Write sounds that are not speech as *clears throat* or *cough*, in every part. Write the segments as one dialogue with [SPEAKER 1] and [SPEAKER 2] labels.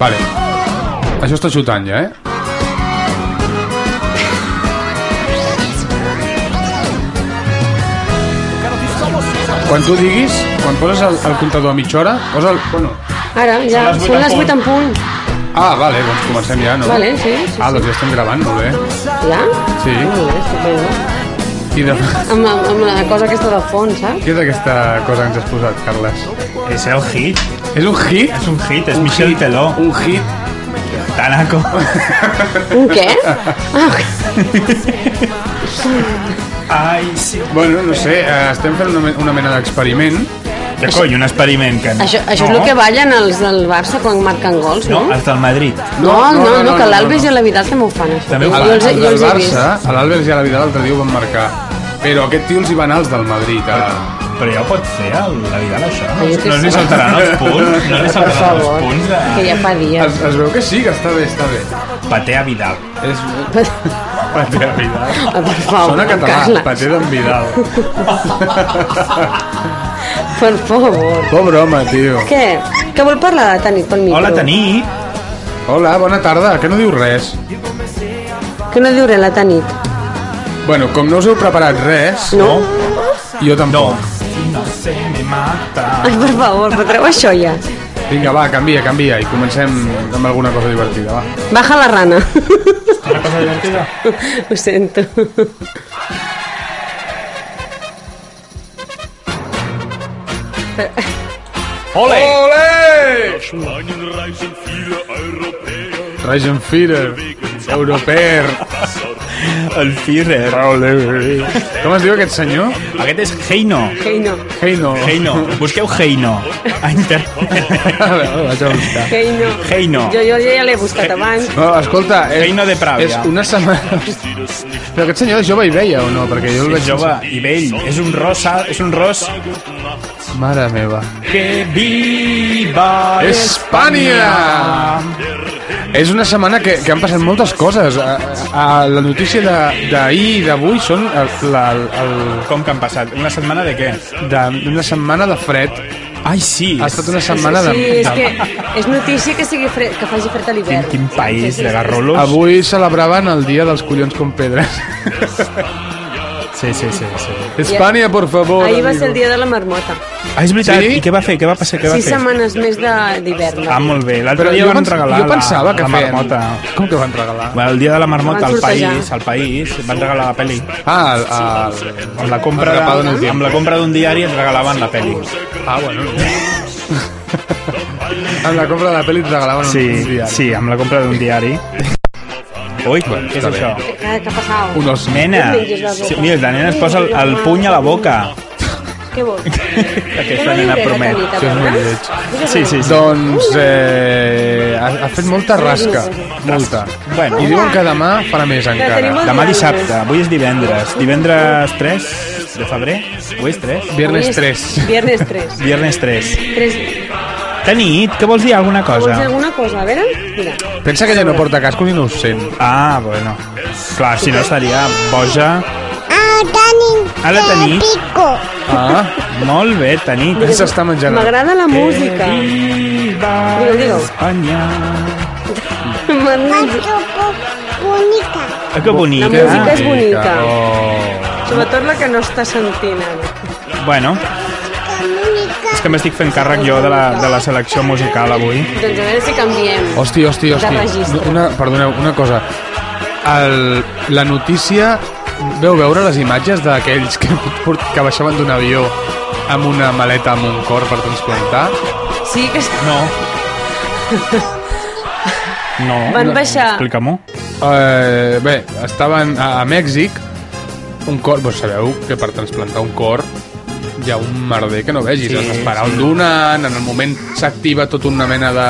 [SPEAKER 1] Vale. Això està xutant ja, eh? Quan tu diguis, quan poses el, el comptador a mitja hora, posa el... Bueno,
[SPEAKER 2] Ara, ja,
[SPEAKER 3] les vuit
[SPEAKER 2] són
[SPEAKER 3] en
[SPEAKER 2] les
[SPEAKER 3] punt.
[SPEAKER 2] 8 en punt.
[SPEAKER 1] ah, vale, doncs comencem ja, no?
[SPEAKER 2] Vale, sí, sí,
[SPEAKER 1] Ah, doncs ja estem gravant, molt bé.
[SPEAKER 2] Ja?
[SPEAKER 1] Sí.
[SPEAKER 2] Molt bé, estupendo.
[SPEAKER 1] I de... *laughs*
[SPEAKER 2] Amb, la- amb la cosa aquesta de fons, saps?
[SPEAKER 1] Què és aquesta cosa que ens has posat, Carles?
[SPEAKER 3] És el hit,
[SPEAKER 1] És un hit?
[SPEAKER 3] és un hit, és Michel
[SPEAKER 1] hit,
[SPEAKER 3] Teló,
[SPEAKER 1] Un hit?
[SPEAKER 3] Tanaco.
[SPEAKER 2] Un què?
[SPEAKER 3] Ai, sí.
[SPEAKER 1] Bueno, no sé, eh, estem fent una, me- una mena d'experiment.
[SPEAKER 3] De coi, un experiment que...
[SPEAKER 2] Això, això és el que ballen els del Barça quan marquen gols, no?
[SPEAKER 3] No, els del Madrid.
[SPEAKER 2] No, no, no, no, que l'Albes i la Vidal també ho fan, això.
[SPEAKER 3] També ho fan.
[SPEAKER 1] Els
[SPEAKER 2] Jo els, he- jo
[SPEAKER 1] del
[SPEAKER 2] els he vist.
[SPEAKER 1] Barça, a l'Albers i a la Vidal l'altre dia ho van marcar. Però aquest tio els hi va anar els del Madrid. A...
[SPEAKER 3] Però ja ho pot fer el, la Vidal, això? No,
[SPEAKER 2] Ai, jo què
[SPEAKER 3] no li
[SPEAKER 2] sé.
[SPEAKER 3] saltaran els punts? No li
[SPEAKER 2] Per
[SPEAKER 3] saltaran els
[SPEAKER 2] favor,
[SPEAKER 3] punts
[SPEAKER 2] que
[SPEAKER 3] de...
[SPEAKER 2] ja fa dies.
[SPEAKER 1] Es, es veu que sí, que està bé, està bé.
[SPEAKER 3] Paté a Vidal.
[SPEAKER 1] És...
[SPEAKER 3] Paté a Vidal.
[SPEAKER 2] Ah, Per favor,
[SPEAKER 1] Sona català,
[SPEAKER 2] Carles,
[SPEAKER 1] paté d'en Vidal.
[SPEAKER 2] per favor.
[SPEAKER 1] Pobre home, tio.
[SPEAKER 2] Què? Que vol parlar la Tanit pel micro?
[SPEAKER 3] Hola, Taní.
[SPEAKER 1] Hola, bona tarda, que no diu res.
[SPEAKER 2] Que no diu res la Tanit.
[SPEAKER 1] Bueno, com no us heu preparat res,
[SPEAKER 2] No?
[SPEAKER 1] jo
[SPEAKER 3] No.
[SPEAKER 1] tampoc.
[SPEAKER 3] Si no se me mata.
[SPEAKER 2] Ai, per favor, fotreu això ja.
[SPEAKER 1] Vinga, va, canvia, canvia i comencem amb alguna cosa divertida, va.
[SPEAKER 2] Baja la rana.
[SPEAKER 3] Una cosa divertida.
[SPEAKER 2] *laughs* Ho sento.
[SPEAKER 3] Ole!
[SPEAKER 1] Ole!
[SPEAKER 4] Schlagen reisen viele Europäer
[SPEAKER 1] Regen Führer, Europeer.
[SPEAKER 3] El Führer.
[SPEAKER 1] Ole. Com es diu aquest senyor?
[SPEAKER 3] Aquest és Heino.
[SPEAKER 2] Ei, no.
[SPEAKER 1] Heino. *laughs*
[SPEAKER 3] Heino. Busqueu Heino. A internet.
[SPEAKER 1] A veure, vaig a buscar.
[SPEAKER 2] Ei, no.
[SPEAKER 3] Heino.
[SPEAKER 2] Jo, jo, jo ja l'he buscat abans.
[SPEAKER 1] No, escolta, és,
[SPEAKER 3] Heino de Pravia.
[SPEAKER 1] és una setmana... Però aquest senyor és jove i veia o no? Perquè jo el
[SPEAKER 3] És
[SPEAKER 1] veig...
[SPEAKER 3] jove i vell. És un ros, és un ros
[SPEAKER 1] Mare meva.
[SPEAKER 3] que viva
[SPEAKER 1] Espanya! És una setmana que, que han passat moltes coses. A, a, la notícia de- d'ahir i d'avui són el, la, el,
[SPEAKER 3] Com que han passat? Una setmana de què?
[SPEAKER 1] de, una setmana de fred.
[SPEAKER 3] Ai, sí.
[SPEAKER 1] Ha estat una setmana de...
[SPEAKER 2] Sí, és
[SPEAKER 1] de-
[SPEAKER 2] que és notícia que, sigui fred, que faci fred a
[SPEAKER 3] Quin,
[SPEAKER 2] l'hivern.
[SPEAKER 3] quin país de garrolos.
[SPEAKER 1] Avui celebraven el dia dels collons com pedres.
[SPEAKER 3] Sí, sí, sí. sí.
[SPEAKER 1] Espanya, por favor.
[SPEAKER 2] Ahir va ser el
[SPEAKER 1] amigo.
[SPEAKER 2] dia de la marmota.
[SPEAKER 3] Ah, és veritat.
[SPEAKER 1] Sí?
[SPEAKER 3] I què va fer? Què va passar? Què va
[SPEAKER 2] Sis
[SPEAKER 3] fer?
[SPEAKER 2] setmanes més de- d'hivern.
[SPEAKER 3] Ah, molt bé. L'altre
[SPEAKER 1] Però
[SPEAKER 3] dia
[SPEAKER 1] jo,
[SPEAKER 3] van
[SPEAKER 1] pens-
[SPEAKER 3] regalar
[SPEAKER 1] jo pensava
[SPEAKER 3] la,
[SPEAKER 1] que
[SPEAKER 3] la
[SPEAKER 1] feien...
[SPEAKER 3] marmota.
[SPEAKER 1] Com que van regalar?
[SPEAKER 3] Bueno, el dia de la marmota
[SPEAKER 2] Van
[SPEAKER 3] al
[SPEAKER 2] sortejar.
[SPEAKER 3] país, al país, van regalar la pel·li.
[SPEAKER 1] Ah, el, el,
[SPEAKER 3] Amb la compra,
[SPEAKER 1] Atrapado en el
[SPEAKER 3] de,
[SPEAKER 1] tiempo.
[SPEAKER 3] amb la compra d'un diari et regalaven la pel·li.
[SPEAKER 1] Ah, bueno. amb la compra de la pel·li et regalaven
[SPEAKER 3] Sí,
[SPEAKER 1] un diari.
[SPEAKER 3] sí, amb la compra d'un diari. Ui, què és
[SPEAKER 1] està bé.
[SPEAKER 3] això?
[SPEAKER 2] Què, què ha passat?
[SPEAKER 1] Un os.
[SPEAKER 3] Nena, sí, mira, la nena es posa el, el puny a la
[SPEAKER 2] *laughs*
[SPEAKER 3] boca.
[SPEAKER 2] Què vols?
[SPEAKER 3] Aquesta nena promet.
[SPEAKER 1] Això és molt lleig.
[SPEAKER 3] Sí, sí, sí.
[SPEAKER 1] Doncs eh, ha, ha fet molta rasca, molta.
[SPEAKER 3] Bueno.
[SPEAKER 1] I diuen que demà farà més
[SPEAKER 2] tenim
[SPEAKER 1] encara.
[SPEAKER 2] molt-
[SPEAKER 3] Demà dissabte, avui és divendres. Divendres 3 de febrer? Avui és 3?
[SPEAKER 1] Viernes 3.
[SPEAKER 2] Viernes 3.
[SPEAKER 3] Viernes 3.
[SPEAKER 2] 3.
[SPEAKER 3] Tenit, que vols dir alguna
[SPEAKER 2] Vols
[SPEAKER 3] cosa?
[SPEAKER 2] dir alguna cosa? A veure, mira.
[SPEAKER 1] Pensa que ja no porta cascos i no ho sent.
[SPEAKER 3] Ah, bueno. Clar, si no estaria boja.
[SPEAKER 5] Ah, Dani.
[SPEAKER 3] Ara tenim.
[SPEAKER 5] Pico.
[SPEAKER 1] Ah,
[SPEAKER 3] Molt bé, Tenit.
[SPEAKER 1] s'està menjant.
[SPEAKER 2] M'agrada la música. *laughs*
[SPEAKER 3] Viva
[SPEAKER 2] Digue-ho, digue-ho.
[SPEAKER 3] Espanya.
[SPEAKER 2] M'agrada.
[SPEAKER 5] Machuco. Bonica.
[SPEAKER 3] Ah, que bonica.
[SPEAKER 2] La música és bonica.
[SPEAKER 1] Oh.
[SPEAKER 2] Sobretot la que no està sentint ara.
[SPEAKER 3] Bueno,
[SPEAKER 5] Bonica.
[SPEAKER 3] és que m'estic fent càrrec jo de la, de la selecció musical avui.
[SPEAKER 2] Doncs a veure si canviem.
[SPEAKER 1] Hosti, hosti,
[SPEAKER 2] De
[SPEAKER 1] hosti.
[SPEAKER 2] registre.
[SPEAKER 1] Una, perdoneu, una cosa. El, la notícia... Veu veure les imatges d'aquells que, port- que baixaven d'un avió amb una maleta amb un cor per transplantar?
[SPEAKER 2] Sí que...
[SPEAKER 3] No. No.
[SPEAKER 2] Van baixar
[SPEAKER 3] Explica-m'ho.
[SPEAKER 1] Eh, bé, estaven a, a Mèxic un cor, vos sabeu que per transplantar un cor hi ha un merder que no vegis,
[SPEAKER 3] Sí,
[SPEAKER 1] has d'esperar un donant, en el moment s'activa tot una mena de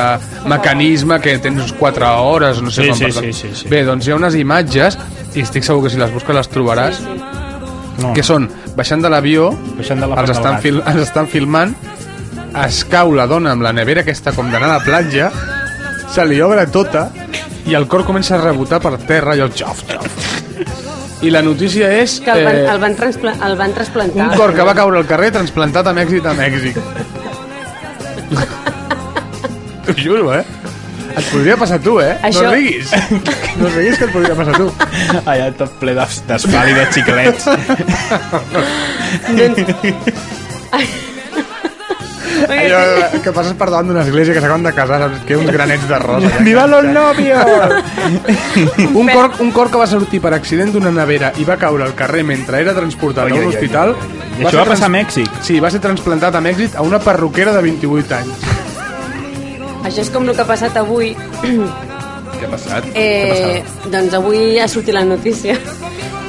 [SPEAKER 1] mecanisme que tens 4 hores, no sé
[SPEAKER 3] Sí,
[SPEAKER 1] quan
[SPEAKER 3] sí,
[SPEAKER 1] per tant.
[SPEAKER 3] sí, sí, sí.
[SPEAKER 1] Bé, doncs hi ha unes imatges i estic segur que si les busques les trobaràs
[SPEAKER 3] No.
[SPEAKER 1] que són baixant de l'avió,
[SPEAKER 3] Baixant de la
[SPEAKER 1] els,
[SPEAKER 3] part del
[SPEAKER 1] estan
[SPEAKER 3] gat.
[SPEAKER 1] fil, els estan filmant, es cau la dona amb la nevera aquesta com d'anar a la platja, se li obre tota i el cor comença a rebotar per terra i el xof, xof. I la notícia és
[SPEAKER 2] Que el van, el
[SPEAKER 1] eh,
[SPEAKER 2] van, transpla el van trasplantar.
[SPEAKER 1] un cor que va caure al carrer transplantat a Mèxic a Mèxic. T'ho juro, eh? Et podria passar a tu, eh?
[SPEAKER 2] Això-
[SPEAKER 1] No
[SPEAKER 2] *laughs*
[SPEAKER 1] riguis. No riguis que et podria passar a tu.
[SPEAKER 3] Allà tot ple d'es- d'espal i de xiclets.
[SPEAKER 1] Allò que passes per davant d'una església que s'acaben de casar, saps? Que uns granets d'arròs. allà.
[SPEAKER 3] *laughs* ¡Viva los novios!
[SPEAKER 1] Un cor, un cor que va sortir per accident d'una nevera i va caure al carrer mentre era transportat a
[SPEAKER 3] Ai, ai,
[SPEAKER 1] un
[SPEAKER 3] ai,
[SPEAKER 1] hospital...
[SPEAKER 3] I això
[SPEAKER 1] ser
[SPEAKER 3] va passar a
[SPEAKER 1] trans-
[SPEAKER 3] Mèxic.
[SPEAKER 1] Sí, va ser transplantat a Mèxic a una perruquera de 28 anys.
[SPEAKER 2] Això és com el que ha passat avui.
[SPEAKER 1] Què ha passat?
[SPEAKER 2] Eh, doncs avui ha sortit la notícia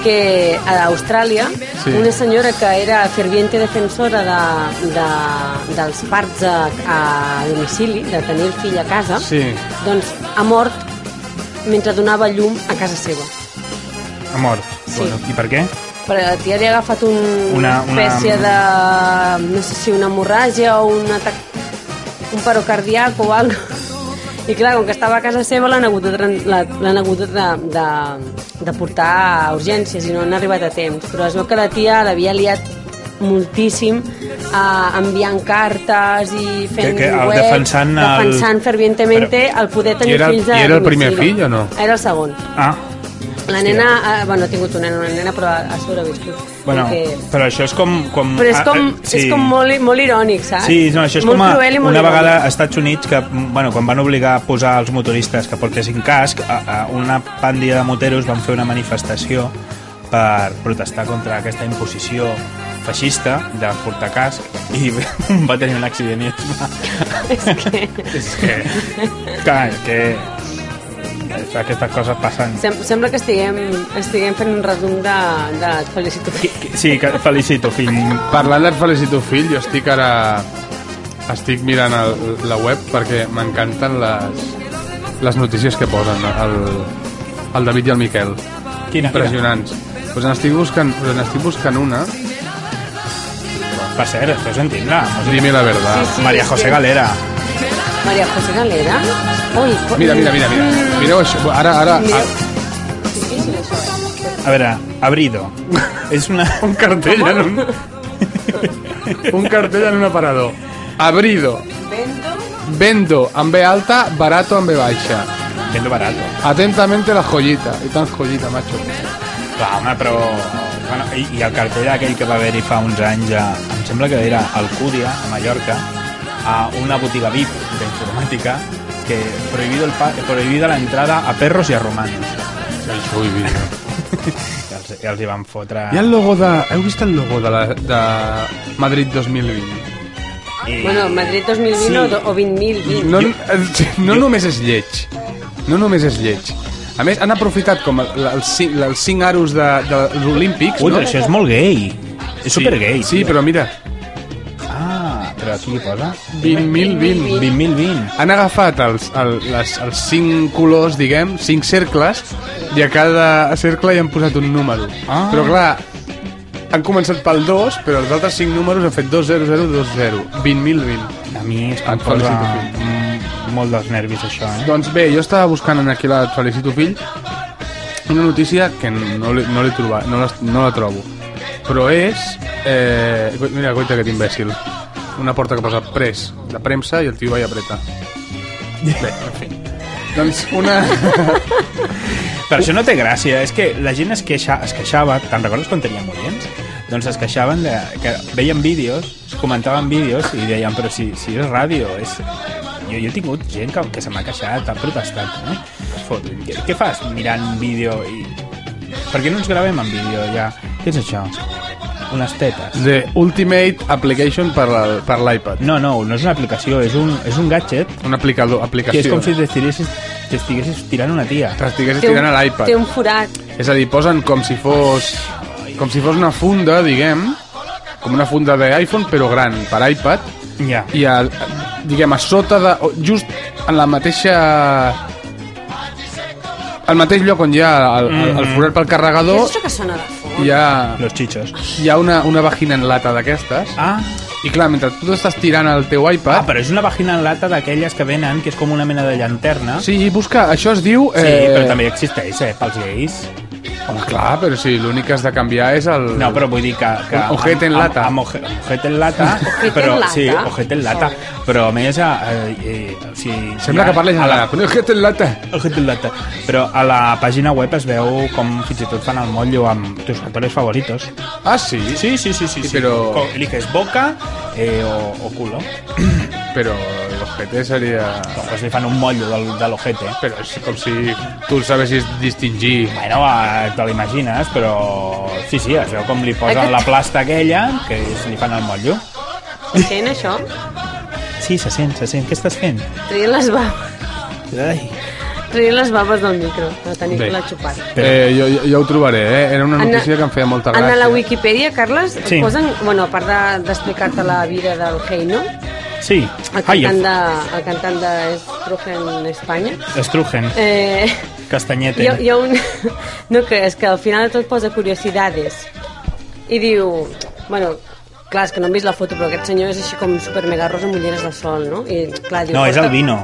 [SPEAKER 2] que a Austràlia
[SPEAKER 1] Sí.
[SPEAKER 2] sí. una senyora que era ferviente defensora de, de, dels parts a, a domicili, de tenir el fill a casa,
[SPEAKER 1] Sí.
[SPEAKER 2] doncs ha mort mentre donava llum a casa seva.
[SPEAKER 3] Ha mort.
[SPEAKER 2] Sí.
[SPEAKER 3] Bueno, I per què?
[SPEAKER 2] Però la tia li ha agafat un,
[SPEAKER 3] Una-
[SPEAKER 2] una,
[SPEAKER 3] una-
[SPEAKER 2] una espècie de... no sé si una hemorràgia o un atac... un paro cardíac o algo. I clar, com que estava a casa seva l'han hagut, de, tran- la- l'han hagut de, de, de portar a urgències i no han arribat a temps. Però es veu que la tia l'havia liat moltíssim eh, enviant cartes i fent
[SPEAKER 3] Que- que el
[SPEAKER 2] web,
[SPEAKER 3] defensant el-
[SPEAKER 2] defensant fervientemente el poder tenir
[SPEAKER 1] I era el-
[SPEAKER 2] fills a
[SPEAKER 1] i era el primer
[SPEAKER 2] domicili.
[SPEAKER 1] fill o no?
[SPEAKER 2] Era el segon.
[SPEAKER 3] Ah,
[SPEAKER 2] La nena, eh, bueno, ha tingut una, una nena, però ha ha sobreviscut.
[SPEAKER 3] bueno,
[SPEAKER 2] Perquè-
[SPEAKER 3] però això és com... com
[SPEAKER 2] Però és
[SPEAKER 3] ah,
[SPEAKER 2] com,
[SPEAKER 3] eh, sí.
[SPEAKER 2] és com molt, molt irònic, saps?
[SPEAKER 3] Sí, no, això és
[SPEAKER 2] molt
[SPEAKER 3] com a,
[SPEAKER 2] cruel i molt
[SPEAKER 3] una
[SPEAKER 2] irònic.
[SPEAKER 3] vegada als Estats Units que, bueno, quan van obligar a posar als motoristes que portessin casc, a, a una pandilla de moteros van fer una manifestació per protestar contra aquesta imposició feixista de portar casc i *laughs* va tenir un accident i es va... *laughs* És que... Clar, és que... és- Aquestes coses passen.
[SPEAKER 2] Sem sembla que estiguem, estiguem fent un resum de, de et felicito.
[SPEAKER 3] Sí, que felicito, fill.
[SPEAKER 1] Parlant del Felicito Fill, jo estic ara... Estic mirant el, la web perquè m'encanten les, les notícies que posen el, el David i el Miquel.
[SPEAKER 3] Quina, quina.
[SPEAKER 1] Impressionants. Pues n'estic buscant, pues n'estic buscant una.
[SPEAKER 3] Per cert, esteu sentint-la?
[SPEAKER 1] Dime la verdad.
[SPEAKER 2] Sí, sí,
[SPEAKER 3] Maria
[SPEAKER 2] és
[SPEAKER 3] José
[SPEAKER 2] que-
[SPEAKER 3] Galera.
[SPEAKER 2] Maria José Galera? Ui, co-
[SPEAKER 1] Mira, mira, mira, mira. Mireu això. Ara, ara...
[SPEAKER 2] Mireu.
[SPEAKER 1] ara
[SPEAKER 3] A veure, abrido. És una...
[SPEAKER 1] *laughs* un cartell eh? en un... *laughs* un cartell en un aparador. Abrido.
[SPEAKER 2] Vendo?
[SPEAKER 1] Vendo amb B alta, barato amb B baixa.
[SPEAKER 3] Vendo barato.
[SPEAKER 1] Atentamente la joyita. I tant joyita, macho.
[SPEAKER 3] Clar, home, però... Bueno, i, I el cartell aquell que va haver-hi fa uns anys, a, em sembla que era a Alcúdia, a Mallorca, a una botiga VIP d'informàtica, que prohibido el pa, prohibida la entrada a perros i a romanos.
[SPEAKER 1] Això ho he vist.
[SPEAKER 3] I els, i els hi van fotre...
[SPEAKER 1] Hi ha el logo de... Heu vist el logo de, la, de Madrid 2020?
[SPEAKER 3] I,
[SPEAKER 2] Bueno, Madrid 2020
[SPEAKER 3] Sí.
[SPEAKER 2] sí. o, do- o 20.020.
[SPEAKER 1] No, eh, no només és lleig. No només és lleig. A més, han aprofitat com el- el- els cinc, els cinc aros de, de, dels Olímpics,
[SPEAKER 3] Ui,
[SPEAKER 1] no?
[SPEAKER 3] però això és molt gay. És supergay.
[SPEAKER 1] Sí, però mira,
[SPEAKER 3] Ah, però aquí hi posa...
[SPEAKER 1] 20.020.
[SPEAKER 3] 20.020.
[SPEAKER 1] Han agafat els, el, les, els cinc colors, diguem, cinc cercles, i a cada cercle hi han posat un número.
[SPEAKER 3] Ah.
[SPEAKER 1] Però clar, han començat pel 2, però els altres cinc números han fet 2, 0, 0, 2, 0. 20.020.
[SPEAKER 3] A mi és que em
[SPEAKER 1] Et
[SPEAKER 3] posa
[SPEAKER 1] felicito,
[SPEAKER 3] mm, molt dels nervis, això, eh?
[SPEAKER 1] Doncs bé, jo estava buscant en aquí la Et felicito fill una notícia que no l'he no l'he trobat, no, la- no la trobo. Però és... Eh, coi- mira, coita aquest imbècil. Una porta que posa pres, de premsa, i el tio va i apreta. Bé, en fi. Doncs una...
[SPEAKER 3] Però això no té gràcia, és que la gent es, queixa, es queixava, te'n recordes quan teníem oients? Doncs es queixaven de, que veien vídeos, comentaven vídeos i deien, però si, si és ràdio, és... Jo, jo he tingut gent que, que se m'ha queixat, ha protestat, eh? no? Fot, què, què fas mirant vídeo i... Per què no ens gravem en vídeo ja? Què és això? Unes tetes.
[SPEAKER 1] The Ultimate Application per la- per l'iPad.
[SPEAKER 3] No, no, no és una aplicació, és un, és un gadget
[SPEAKER 1] Un aplicador,
[SPEAKER 3] que eh? és
[SPEAKER 1] aplicació.
[SPEAKER 3] com si t'estiguessis t'estiguessis tirant una tia.
[SPEAKER 1] T'estiguessis
[SPEAKER 2] Té un-
[SPEAKER 1] tirant a l'iPad.
[SPEAKER 2] Té un forat.
[SPEAKER 1] És a dir, posen com si fos... Com si fos una funda, diguem, com una funda d'iPhone, però gran, per iPad,
[SPEAKER 3] Ja.
[SPEAKER 1] i a, a- diguem, a sota de... o Just en la mateixa... Al mateix lloc on hi ha el, el,
[SPEAKER 3] Mm.
[SPEAKER 1] el forat pel
[SPEAKER 2] Què
[SPEAKER 1] carregador,
[SPEAKER 2] és això que sona de fons?
[SPEAKER 1] hi ha,
[SPEAKER 3] Los chichos.
[SPEAKER 1] hi ha una, una vagina en lata d'aquestes,
[SPEAKER 3] Ah,
[SPEAKER 1] i clar, mentre tu t'estàs tirant el teu iPad...
[SPEAKER 3] Ah, però és una vagina en lata d'aquelles que venen, que és com una mena de llanterna.
[SPEAKER 1] Sí, busca, això es diu...
[SPEAKER 3] eh, Sí, però també existeix, eh, pels gais.
[SPEAKER 1] Home, clar, però si l'únic que has de canviar és el...
[SPEAKER 3] No, però vull dir que... que
[SPEAKER 1] Un ojete en
[SPEAKER 3] amb-
[SPEAKER 1] lata.
[SPEAKER 3] Amb, amb oje- ojete en lata.
[SPEAKER 2] Ojete en
[SPEAKER 3] però,
[SPEAKER 2] lata.
[SPEAKER 3] Sí, ojete en lata. Però a més... A, eh, eh, o sigui,
[SPEAKER 1] Sembla
[SPEAKER 3] ja-
[SPEAKER 1] que parles
[SPEAKER 3] a
[SPEAKER 1] en
[SPEAKER 3] la,
[SPEAKER 1] la... Coño, que té lata.
[SPEAKER 3] Ojete en lata. Però a la pàgina web es veu com fins i tot fan el motllo amb tus actores favoritos.
[SPEAKER 1] Ah, sí?
[SPEAKER 3] Sí, sí, sí, sí.
[SPEAKER 1] Sí,
[SPEAKER 3] sí.
[SPEAKER 1] però-
[SPEAKER 3] Co- Eliges boca eh, o, o culo.
[SPEAKER 1] Però l'ojete seria...
[SPEAKER 3] Doncs pues, li fan un motllo del, de l'ojete.
[SPEAKER 1] Però és com si tu sabessis distingir.
[SPEAKER 3] Bueno, eh, te l'imagines, però... Sí, sí, es veu com li posen
[SPEAKER 2] Aquest-
[SPEAKER 3] la plasta aquella, que és, li fan el motllo.
[SPEAKER 2] Se sent això?
[SPEAKER 3] Sí, se sent, se sent. Què estàs fent?
[SPEAKER 2] Traient les, *laughs* babes,
[SPEAKER 3] Ai.
[SPEAKER 2] traient les babes del micro, de tenir
[SPEAKER 1] Bé.
[SPEAKER 2] la xupada.
[SPEAKER 1] Eh, jo, jo, jo ho trobaré, eh? Era una notícia que em feia molta gràcia.
[SPEAKER 2] En la Wikipedia, Carles,
[SPEAKER 3] Sí.
[SPEAKER 2] sí. posen, bueno, a part de- d'explicar-te la vida del Heino,
[SPEAKER 3] Sí,
[SPEAKER 2] el cantant de, el cantant de Strugen Espanya,
[SPEAKER 3] Estrugen,
[SPEAKER 2] eh,
[SPEAKER 3] Castanyete.
[SPEAKER 2] hi, ha, hi ha un... *laughs* No, que és que al final de tot posa curiosidades. I diu... Bueno, clar, és que no hem vist la foto, però aquest senyor és així com super mega rosa amb ulleres de sol, no? I, clar, diu,
[SPEAKER 3] No, és
[SPEAKER 2] porta-
[SPEAKER 3] el vino.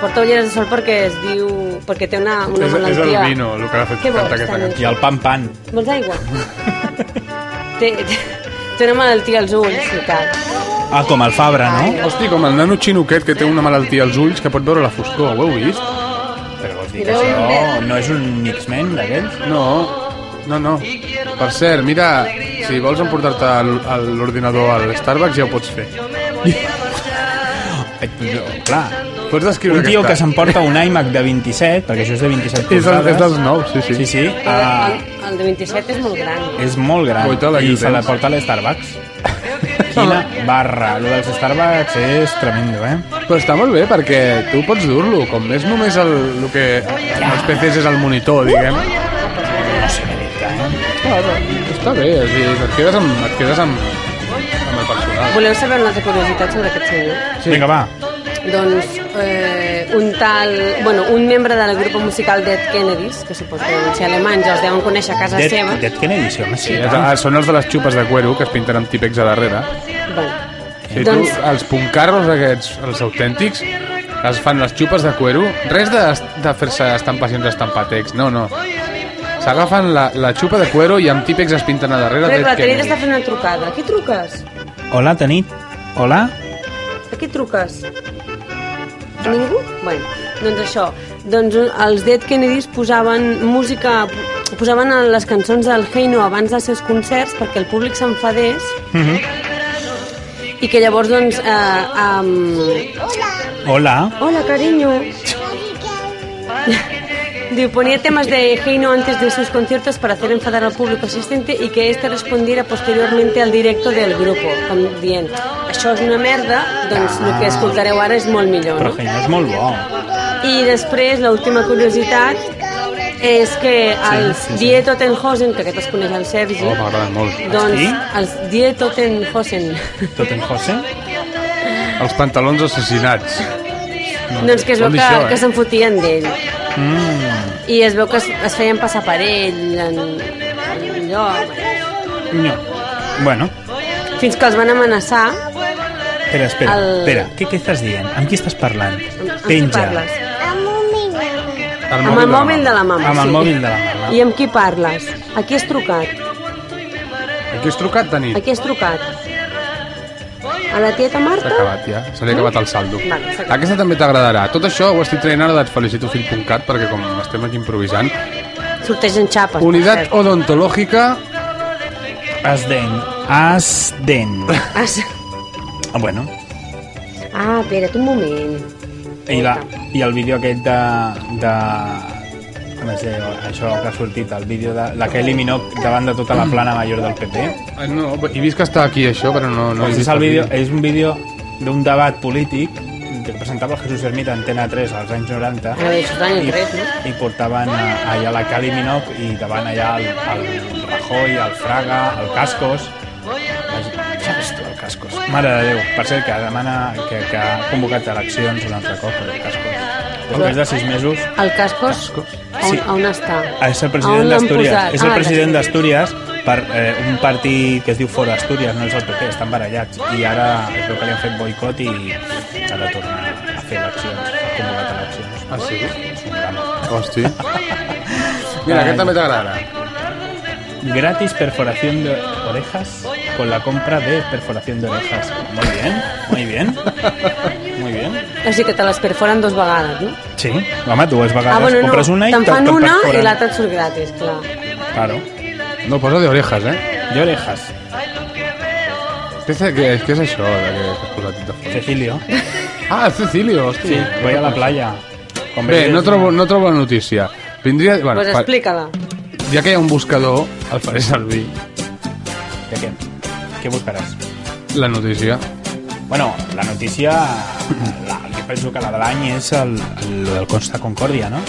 [SPEAKER 2] Porta ulleres de sol perquè es diu... Perquè té una, una
[SPEAKER 1] És- és el
[SPEAKER 2] malaltia...
[SPEAKER 1] vino, el que l'ha fet
[SPEAKER 2] Què vols,
[SPEAKER 1] cantar aquesta
[SPEAKER 2] Dani?
[SPEAKER 3] I el pan pan.
[SPEAKER 2] Vols aigua? té, té, té una malaltia als ulls i tal.
[SPEAKER 3] Ah, com el Fabra, no?
[SPEAKER 1] Hosti, com el nano xinoquet que té una malaltia als ulls que pot veure la foscor, ho heu vist?
[SPEAKER 3] Però vols dir que això no és un X-Men d'aquells?
[SPEAKER 1] No, no, no. Per cert, mira, si vols emportar-te l- el- l'ordinador al Starbucks ja ho pots fer.
[SPEAKER 3] Eh, però, Clar,
[SPEAKER 1] Pots descriure
[SPEAKER 3] un tio que
[SPEAKER 1] aquesta.
[SPEAKER 3] s'emporta un iMac de 27, perquè això és de
[SPEAKER 1] És,
[SPEAKER 3] 27
[SPEAKER 1] el,
[SPEAKER 3] polzades.
[SPEAKER 1] és dels nous, sí, sí.
[SPEAKER 3] Sí, sí.
[SPEAKER 2] Ah.
[SPEAKER 3] Ah,
[SPEAKER 2] El, el, de 27 és molt gran.
[SPEAKER 3] és molt gran.
[SPEAKER 1] Guaita, la
[SPEAKER 3] I
[SPEAKER 1] Guillotins.
[SPEAKER 3] se la porta a l'Starbucks. Quina barra. Lo dels Starbucks és tremendo, eh?
[SPEAKER 1] Però està molt bé perquè tu pots dur-lo, com és només el, el que en els PCs és el monitor, diguem.
[SPEAKER 3] No sé què dir-te, eh?
[SPEAKER 1] Està bé, és a dir, et quedes amb, et quedes amb, amb el personal.
[SPEAKER 2] Voleu saber una altra curiositat sobre aquest senyor?
[SPEAKER 1] Sí.
[SPEAKER 3] Vinga, va.
[SPEAKER 2] Doncs eh, un tal... Bueno, un membre del grup musical Dead Kennedys, que suposo que deuen ser alemanys, els deuen conèixer a casa
[SPEAKER 3] Dead,
[SPEAKER 2] seva.
[SPEAKER 3] Dead Kennedy, sí, home, sí.
[SPEAKER 1] Sí,
[SPEAKER 3] i
[SPEAKER 1] és-
[SPEAKER 3] tant.
[SPEAKER 1] ah, són els de les xupes de cuero que es pinten amb típex a darrere.
[SPEAKER 2] Bueno,
[SPEAKER 1] Sí, doncs...
[SPEAKER 2] Doncs-
[SPEAKER 1] tu, els puncarros aquests, els autèntics, es fan les xupes de cuero. Res de, de fer-se estampacions estampatecs, no, no. S'agafen la, la xupa de cuero i amb típex es pinten a darrere.
[SPEAKER 2] crec que la
[SPEAKER 1] Dead
[SPEAKER 2] Tanit
[SPEAKER 1] Kennedy.
[SPEAKER 2] està fent una trucada. A qui truques?
[SPEAKER 3] Hola, Tanit. Hola.
[SPEAKER 2] A qui truques? A ningú? Bueno, doncs això. Doncs un- els Dead Kennedys posaven música... Posaven en les cançons del Heino abans dels seus concerts perquè el públic s'enfadés i que llavors, doncs... Eh, um...
[SPEAKER 3] Hola.
[SPEAKER 2] Hola, carinyo. Diu, ponía temas de Heino antes de sus conciertos para hacer enfadar al público asistente y que éste respondiera posteriormente al directo del grupo, com dient, això és una merda, doncs el que escoltareu ara és molt millor.
[SPEAKER 3] Però
[SPEAKER 2] No?
[SPEAKER 3] Heino és molt bo.
[SPEAKER 2] I després, l'última curiositat és que els
[SPEAKER 3] sí, sí.
[SPEAKER 2] Die Tottenhausen, que aquest es coneix el Sergi,
[SPEAKER 1] Oh, m'agrada molt.
[SPEAKER 2] doncs
[SPEAKER 3] Sí?
[SPEAKER 2] els Die Tottenhausen,
[SPEAKER 3] Tot en José.
[SPEAKER 1] Els pantalons assassinats.
[SPEAKER 2] *laughs* doncs que es veu
[SPEAKER 1] Vol dir
[SPEAKER 2] que,
[SPEAKER 1] això, eh?
[SPEAKER 2] que se'n fotien d'ell.
[SPEAKER 3] Mm.
[SPEAKER 2] I es veu que es, es feien passar per ell en, en lloc.
[SPEAKER 3] No. Bueno,
[SPEAKER 2] Fins que els van amenaçar.
[SPEAKER 3] espera, espera,
[SPEAKER 2] El-
[SPEAKER 3] espera. Què, què estàs dient? Amb qui estàs parlant?
[SPEAKER 2] Amb- amb qui
[SPEAKER 3] Penja.
[SPEAKER 2] parles?
[SPEAKER 5] Amb un minut.
[SPEAKER 1] El
[SPEAKER 2] Amb el mòbil de la mama.
[SPEAKER 3] Amb el
[SPEAKER 2] sí.
[SPEAKER 3] mòbil de la mama.
[SPEAKER 2] I amb qui parles? A qui has trucat?
[SPEAKER 1] Aquí has trucat, Dani?
[SPEAKER 2] A qui has trucat? A la tieta
[SPEAKER 1] S'ha
[SPEAKER 2] Marta?
[SPEAKER 1] acabat, ja. Se li ha acabat el saldo.
[SPEAKER 2] Vale, s'ha acabat.
[SPEAKER 1] Aquesta també t'agradarà. Tot això ho estic traient ara de felicitofill.cat perquè com estem aquí improvisant.
[SPEAKER 2] Sortegen xapes. per
[SPEAKER 1] Unitat
[SPEAKER 2] cert.
[SPEAKER 1] odontològica
[SPEAKER 3] Asden. Asden.
[SPEAKER 2] Ah, sí.
[SPEAKER 3] *laughs* Ah, bueno.
[SPEAKER 2] Ah, espera't un moment.
[SPEAKER 3] I, la, I el vídeo aquest de... de com es deia, això que ha sortit, el vídeo de la Kelly Minogue davant de tota la plana major del PP.
[SPEAKER 1] Ah, No, he vist que està aquí això, però no, no he
[SPEAKER 3] Doncs
[SPEAKER 1] vist
[SPEAKER 3] és, el vídeo, és un vídeo d'un debat polític que presentava el Jesús Ermita a Antena 3 als anys 90
[SPEAKER 2] Ah, això és l'any
[SPEAKER 3] i,
[SPEAKER 2] 3, no?
[SPEAKER 3] i portaven eh, allà la Cali Minoc i davant allà el, el Rajoy, el Fraga, el Cascos ja ves tu, el Cascos mare de Déu, per cert que demana que, que ha convocat eleccions un altre cop el Cascos després de sis mesos
[SPEAKER 2] El Cascos, on,
[SPEAKER 3] Sí. Ah,
[SPEAKER 2] on està?
[SPEAKER 3] és
[SPEAKER 2] A
[SPEAKER 3] el
[SPEAKER 2] on
[SPEAKER 3] president
[SPEAKER 2] l'han
[SPEAKER 3] d'Astúries
[SPEAKER 2] posat?
[SPEAKER 3] és el
[SPEAKER 2] Ah,
[SPEAKER 3] president d'Astúries per eh, un partit que es diu Fora Astúries no és el PP, estan barallats i ara es veu que li han fet boicot i ha de tornar a fer eleccions ha convocat eleccions *laughs*
[SPEAKER 1] Ah, sí?
[SPEAKER 3] És un drama.
[SPEAKER 1] Hosti. Mira, aquest també t'agradarà.
[SPEAKER 3] Gratis perforación de orejas con la compra de perforación de orejas. Muy bien, muy bien. Muy bien.
[SPEAKER 2] O sigui que te les perforen dos vegades, no?
[SPEAKER 3] Sí, home, dues vegades
[SPEAKER 2] ah, bueno,
[SPEAKER 3] compres
[SPEAKER 2] no,
[SPEAKER 3] una i
[SPEAKER 2] te'n
[SPEAKER 3] te-
[SPEAKER 2] fan
[SPEAKER 3] te
[SPEAKER 2] una i
[SPEAKER 3] perforen.
[SPEAKER 2] l'altra et surt gratis, clar.
[SPEAKER 3] Claro,
[SPEAKER 1] No, posa de orejas, eh?
[SPEAKER 3] de orejas.
[SPEAKER 1] Què és, què és, què és això de que has posat de fons?
[SPEAKER 3] Cecilio.
[SPEAKER 1] Ah, és Cecilio,
[SPEAKER 3] Sí,
[SPEAKER 1] hòstia.
[SPEAKER 3] voy a la playa. Con
[SPEAKER 1] Bé,
[SPEAKER 3] velles-
[SPEAKER 1] no trobo, no trobo la notícia. Vindria... Bueno,
[SPEAKER 2] Doncs pues
[SPEAKER 1] fa-
[SPEAKER 2] explica-la.
[SPEAKER 1] ja que hi ha un buscador, el faré servir,
[SPEAKER 3] ¿De qué? ¿Qué buscaràs?
[SPEAKER 1] la notícia.
[SPEAKER 3] Bueno, la notícia... La, jo penso que la de l'any és el, el, lo del Consta Concòrdia, no?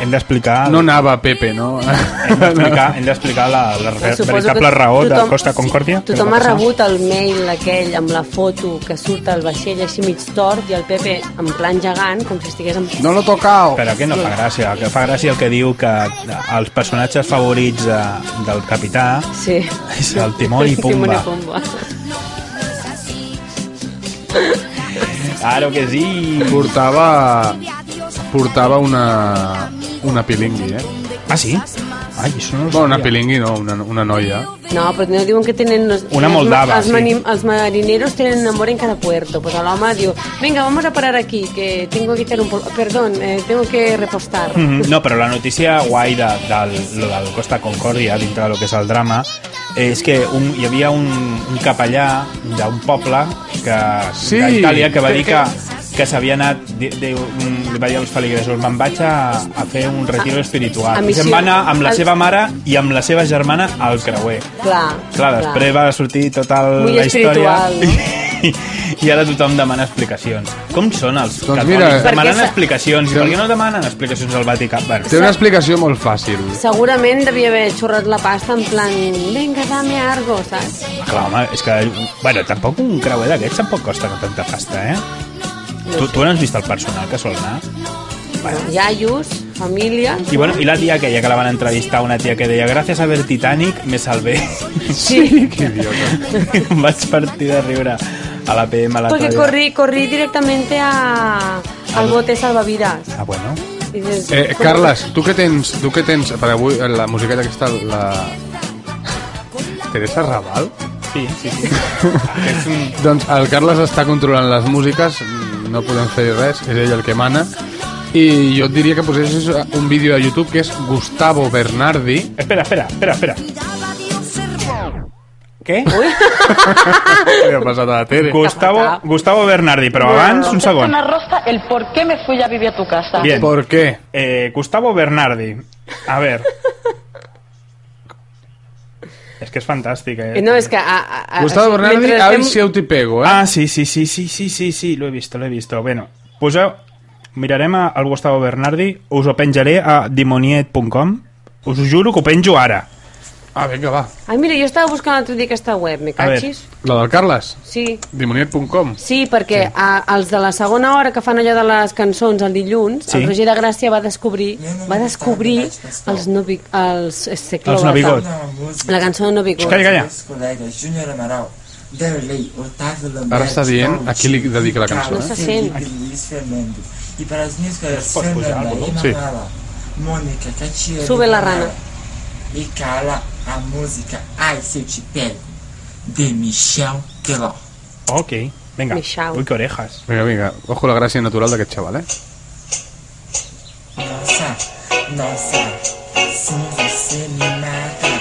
[SPEAKER 3] Hem d'explicar...
[SPEAKER 1] No anava Pepe, no?
[SPEAKER 3] *laughs* Hem d'explicar hem d'explicar la, la, ver-
[SPEAKER 2] Suposo
[SPEAKER 3] veritable
[SPEAKER 2] que
[SPEAKER 3] raó
[SPEAKER 2] tothom-
[SPEAKER 3] del Costa Concòrdia. que
[SPEAKER 2] Tothom
[SPEAKER 3] va
[SPEAKER 2] ha
[SPEAKER 3] passar.
[SPEAKER 2] rebut el mail aquell amb la foto que surt el vaixell així mig tort i el Pepe en plan gegant, com si estigués en...
[SPEAKER 1] No l'ho tocao.
[SPEAKER 3] Però que no fa gràcia, el que fa gràcia el que diu que els personatges favorits de, del capità
[SPEAKER 2] Sí.
[SPEAKER 3] és el Timón
[SPEAKER 2] *laughs*
[SPEAKER 3] i Pumba.
[SPEAKER 2] Pumba.
[SPEAKER 3] Claro que sí!
[SPEAKER 1] Portava... Portava una... Una pilingui, eh?
[SPEAKER 3] Ah, sí? Ai, això no ho
[SPEAKER 1] Bueno, una
[SPEAKER 3] sabia.
[SPEAKER 1] pilingui, no, una, una noia.
[SPEAKER 2] No, però no diuen que tenen... Los, els
[SPEAKER 3] Una
[SPEAKER 2] ma-
[SPEAKER 3] moldava,
[SPEAKER 2] els,
[SPEAKER 3] sí.
[SPEAKER 2] mani- els marineros tenen amor en cada puerto. Pues l'home diu, venga, vamos a parar aquí, que tengo que echar un... pol- Perdón, eh, tengo que repostar.
[SPEAKER 3] Mhm. No, però la notícia guai de, del, lo del Costa Concòrdia, dintre del que és el drama, és que un, hi havia un, un capellà d'un poble que,
[SPEAKER 1] Sí,
[SPEAKER 3] d'Itàlia que va dir
[SPEAKER 1] crec
[SPEAKER 3] que, que s'havia anat di, di, mm, li va dir als feligresos me'n vaig a, a fer un retiro
[SPEAKER 2] a
[SPEAKER 3] espiritual i
[SPEAKER 2] missió.
[SPEAKER 3] se'n va anar amb la
[SPEAKER 2] Al-
[SPEAKER 3] seva mare i amb la seva germana al creuer
[SPEAKER 2] Clar,
[SPEAKER 3] Clar, després va sortir tota el-
[SPEAKER 2] Muy
[SPEAKER 3] la història
[SPEAKER 2] espiritual,
[SPEAKER 3] i, *laughs* i ara tothom demana explicacions. Com són els
[SPEAKER 1] Doncs
[SPEAKER 3] catòlics?
[SPEAKER 1] mira- Perquè
[SPEAKER 3] demanen
[SPEAKER 2] sa-
[SPEAKER 3] explicacions. I
[SPEAKER 1] Doncs-
[SPEAKER 3] per què no demanen explicacions al Vaticà? Bueno,
[SPEAKER 1] Té una explicació molt fàcil.
[SPEAKER 2] Segurament devia haver xurrat la pasta en plan, venga, dame algo, saps?
[SPEAKER 3] clar, home, és que... Bueno, tampoc un creuer d'aquests tampoc costa tanta pasta, eh? Tu, tu no has vist el personal que sol anar? Bueno.
[SPEAKER 2] Iaios, família...
[SPEAKER 3] I, bueno, I la tia aquella que la van entrevistar, una tia que deia Gràcies a ver Titanic me salvé. *laughs*
[SPEAKER 2] Sí,
[SPEAKER 1] Que idiota.
[SPEAKER 3] Em Vaig partir de riure a la PM a la
[SPEAKER 2] porque
[SPEAKER 3] toalla.
[SPEAKER 2] corrí, corrí directamente a, al bote salvavidas.
[SPEAKER 3] Ah, bueno.
[SPEAKER 2] I dices, "Pues,
[SPEAKER 1] Eh,
[SPEAKER 2] com-
[SPEAKER 1] Carles, tu que tens... Tu que tens... Per avui, eh, la musiqueta aquesta, la... Teresa Raval?
[SPEAKER 3] Sí, sí, sí. és un...
[SPEAKER 1] Doncs el Carles està controlant les músiques, mm, no podem fer res, és ell el que mana. I jo et diria que posessis un vídeo a YouTube que és Gustavo
[SPEAKER 3] *laughs*
[SPEAKER 1] Bernardi.
[SPEAKER 3] Espera, espera, espera, espera. Què?
[SPEAKER 1] Què ha passat a la tele?
[SPEAKER 3] Gustavo, Gustavo Bernardi, però abans, un segon.
[SPEAKER 6] rosca el por qué me fui a vivir a tu casa.
[SPEAKER 3] Bien.
[SPEAKER 1] ¿Por qué?
[SPEAKER 3] Eh, Gustavo Bernardi. A
[SPEAKER 2] *laughs*
[SPEAKER 3] ver. És que és fantàstic, eh?
[SPEAKER 2] Eh, *laughs* No, és que... A, a, a,
[SPEAKER 1] Gustavo Bernardi,
[SPEAKER 2] mentre
[SPEAKER 1] a
[SPEAKER 2] estem-
[SPEAKER 1] ver si eu te pego, eh?
[SPEAKER 3] Ah, sí, sí, sí, sí, sí, sí, sí, lo he visto, lo he visto. Bueno, poseu... Mirarem a- al Gustavo Bernardi, us ho penjaré a dimoniet.com. Us ho juro que ho penjo ara.
[SPEAKER 1] Ah, vinga, va.
[SPEAKER 2] Ai, mira, jo estava buscant l'altre dia aquesta web, me
[SPEAKER 3] A veure.
[SPEAKER 2] cachis?
[SPEAKER 1] La del Carles?
[SPEAKER 2] Sí.
[SPEAKER 1] Dimoniet.com
[SPEAKER 2] Sí, perquè sí. A, els de la segona hora que fan allò de les cançons el dilluns,
[SPEAKER 3] Sí.
[SPEAKER 2] sí. el Roger de Gràcia va descobrir va descobrir els, no, vi- els,
[SPEAKER 3] Els
[SPEAKER 2] els
[SPEAKER 3] Novigot.
[SPEAKER 2] La cançó de Novigot.
[SPEAKER 3] Calla, calla.
[SPEAKER 1] Ara està dient a qui li dedica la cançó,
[SPEAKER 2] No
[SPEAKER 7] eh?
[SPEAKER 2] se sent.
[SPEAKER 7] I per als nens que
[SPEAKER 3] pots
[SPEAKER 7] semblen
[SPEAKER 3] pujar al
[SPEAKER 7] la
[SPEAKER 3] volum?
[SPEAKER 7] i
[SPEAKER 1] Sí.
[SPEAKER 7] mamada, Mônica, que te amo,
[SPEAKER 2] Sube la
[SPEAKER 7] mamada.
[SPEAKER 2] rana.
[SPEAKER 7] E cala a música Ai, se eu te pego, de Michel Teló.
[SPEAKER 3] Ok, vinga.
[SPEAKER 2] Mixau.
[SPEAKER 3] Ui, que orejas.
[SPEAKER 1] Vinga, vinga, ojo la gràcia natural d'aquest xaval, eh?
[SPEAKER 7] Nossa, nossa, se você me mata.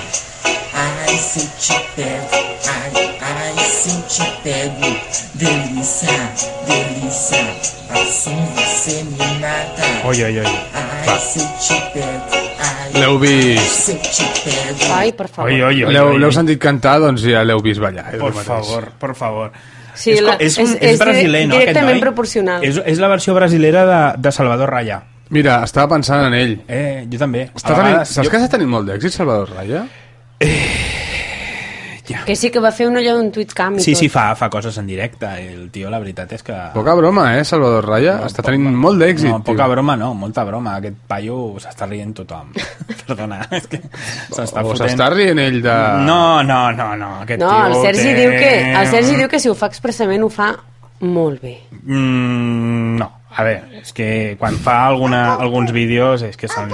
[SPEAKER 7] Ai, se eu te pego, ai, ai, se eu te pego. Delícia, delícia, assim você me mata.
[SPEAKER 3] Oi, oi, oi.
[SPEAKER 7] Ai, se eu te pego, ai,
[SPEAKER 1] L'heu vist...
[SPEAKER 7] se eu te pego.
[SPEAKER 2] Ai, per favor.
[SPEAKER 3] Oi, oi, oi.
[SPEAKER 1] L'heu
[SPEAKER 3] oi,
[SPEAKER 1] l'heu
[SPEAKER 3] oi.
[SPEAKER 1] sentit cantar, doncs ja l'heu vist ballar. és el
[SPEAKER 3] Por
[SPEAKER 1] mateix.
[SPEAKER 3] favor, por favor.
[SPEAKER 2] Sí,
[SPEAKER 3] és, co-
[SPEAKER 2] la-
[SPEAKER 3] és, un,
[SPEAKER 2] és-
[SPEAKER 3] és,
[SPEAKER 2] és
[SPEAKER 3] brasiler, no?
[SPEAKER 2] directament
[SPEAKER 3] aquest noi?
[SPEAKER 2] proporcional.
[SPEAKER 3] És, és la versió brasilera de, de Salvador Raya.
[SPEAKER 1] Mira, estava pensant en ell.
[SPEAKER 3] Eh, jo també. A
[SPEAKER 1] Està tenint,
[SPEAKER 3] vegades
[SPEAKER 1] saps
[SPEAKER 3] jo-
[SPEAKER 1] que està tenint molt d'èxit, Salvador Raya?
[SPEAKER 2] Que sí que va fer un allò d'un tuit camp i
[SPEAKER 3] Sí,
[SPEAKER 2] tot.
[SPEAKER 3] sí, fa, fa coses en directe. El tio, la veritat és que...
[SPEAKER 1] Poca broma, eh, Salvador Raya? està tenint molt d'èxit,
[SPEAKER 3] No, poca
[SPEAKER 1] tio.
[SPEAKER 3] broma no, molta broma. Aquest paio s'està rient tothom. *laughs* Perdona, és que s'està
[SPEAKER 1] O
[SPEAKER 3] fotent...
[SPEAKER 1] s'està rient ell de...
[SPEAKER 3] No, no, no, no. Aquest
[SPEAKER 2] No,
[SPEAKER 3] tio
[SPEAKER 2] el Sergi,
[SPEAKER 3] té...
[SPEAKER 2] diu que, el Sergi diu que si ho fa expressament ho fa molt bé.
[SPEAKER 3] Mm, no. A ver, és que quan fa alguna, alguns vídeos és que són...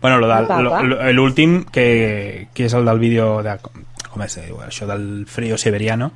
[SPEAKER 3] Bueno, lo del- lo- lo- l'últim, que, que és el del vídeo de... Com, com es diu? Això del frío siberiano.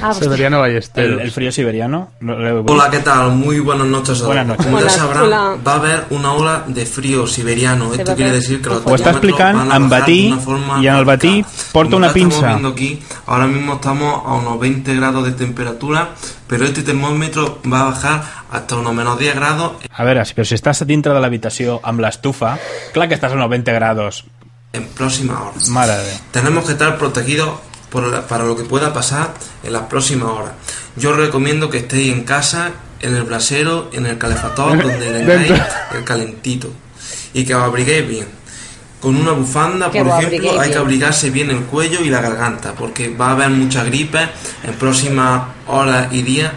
[SPEAKER 2] Ah,
[SPEAKER 1] Severiano Ballesteros.
[SPEAKER 3] El, el frío siberiano. no l'heu vist?
[SPEAKER 8] Hola, ¿qué tal? Muy buenas noches. a
[SPEAKER 3] Buenas noches.
[SPEAKER 8] todos. Como ya
[SPEAKER 2] Hola,
[SPEAKER 8] sabrán,
[SPEAKER 2] hola.
[SPEAKER 8] va a haber una ola de frío siberiano.
[SPEAKER 2] va a
[SPEAKER 8] Esto quiere
[SPEAKER 2] ver.
[SPEAKER 8] decir que los
[SPEAKER 3] Ho està
[SPEAKER 8] termómetros
[SPEAKER 3] explicant
[SPEAKER 8] van a
[SPEAKER 3] en
[SPEAKER 8] bajar
[SPEAKER 3] batí,
[SPEAKER 8] de una forma
[SPEAKER 3] i en el batí
[SPEAKER 8] radical.
[SPEAKER 3] porta
[SPEAKER 8] Como
[SPEAKER 3] una
[SPEAKER 8] ya estamos
[SPEAKER 3] pinza.
[SPEAKER 8] viendo aquí, ahora mismo estamos a unos 20 grados de temperatura, pero este termómetro va a bajar hasta unos menos 10 grados
[SPEAKER 3] A veure, si- però si estàs dintre de l'habitació amb l'estufa, clar que estàs a 90 grados.
[SPEAKER 8] en próximas horas.
[SPEAKER 3] Mare de Déu.
[SPEAKER 8] Tenemos que estar protegidos por la- para lo que pueda pasar en las próximas horas. Yo recomiendo que estéis en casa, en el brasero, en el calefactor, donde tengáis
[SPEAKER 1] Dentro.
[SPEAKER 8] el calentito. Y que os abriguéis bien. Con una bufanda,
[SPEAKER 9] Que
[SPEAKER 8] por
[SPEAKER 9] os
[SPEAKER 8] ejemplo,
[SPEAKER 9] abriguéis
[SPEAKER 8] hay que
[SPEAKER 9] bien.
[SPEAKER 8] abrigarse bien el cuello y la garganta, porque va a haber mucha gripe en próximas horas y días.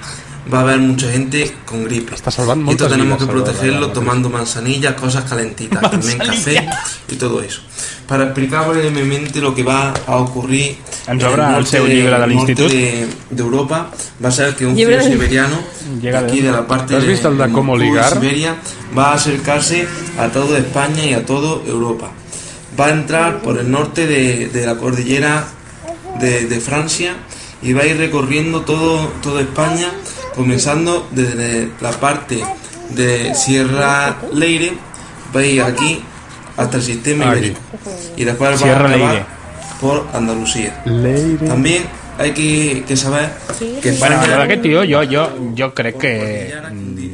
[SPEAKER 8] Va a haber mucha gente con gripe.
[SPEAKER 1] Está salvando
[SPEAKER 8] y esto
[SPEAKER 1] muchas
[SPEAKER 8] tenemos que
[SPEAKER 1] vidas, Salvador,
[SPEAKER 8] protegerlo
[SPEAKER 1] la verdad.
[SPEAKER 8] tomando manzanillas, cosas calentitas, también
[SPEAKER 3] Manzanilla.
[SPEAKER 8] café y todo eso. Para explicar brevemente lo que va a ocurrir
[SPEAKER 3] Ens obre el seu
[SPEAKER 8] norte
[SPEAKER 3] llibre de
[SPEAKER 8] norte
[SPEAKER 3] l'institut.
[SPEAKER 8] de, de Europa, va a ser que un
[SPEAKER 2] Llibre
[SPEAKER 8] frío
[SPEAKER 2] de-
[SPEAKER 8] siberiano de
[SPEAKER 3] Llega de-
[SPEAKER 8] aquí de la parte
[SPEAKER 1] ¿Has
[SPEAKER 8] de,
[SPEAKER 1] visto el de
[SPEAKER 8] del
[SPEAKER 1] cómo
[SPEAKER 8] sur de
[SPEAKER 1] ligar?
[SPEAKER 8] Siberia va a acercarse a toda España y a toda Europa. Va a entrar por el norte de, de la cordillera de, de Francia y va a ir recorriendo todo, toda España, comenzando desde la parte de Sierra Leire, va a ir aquí hasta el sistema
[SPEAKER 1] Aquí.
[SPEAKER 8] ibérico y después va
[SPEAKER 3] Sierra
[SPEAKER 8] a acabar
[SPEAKER 3] Leire.
[SPEAKER 8] por Andalucía. También hay que, que saber que
[SPEAKER 3] Bueno,
[SPEAKER 8] España-
[SPEAKER 3] però aquest tio, jo, jo, jo crec que...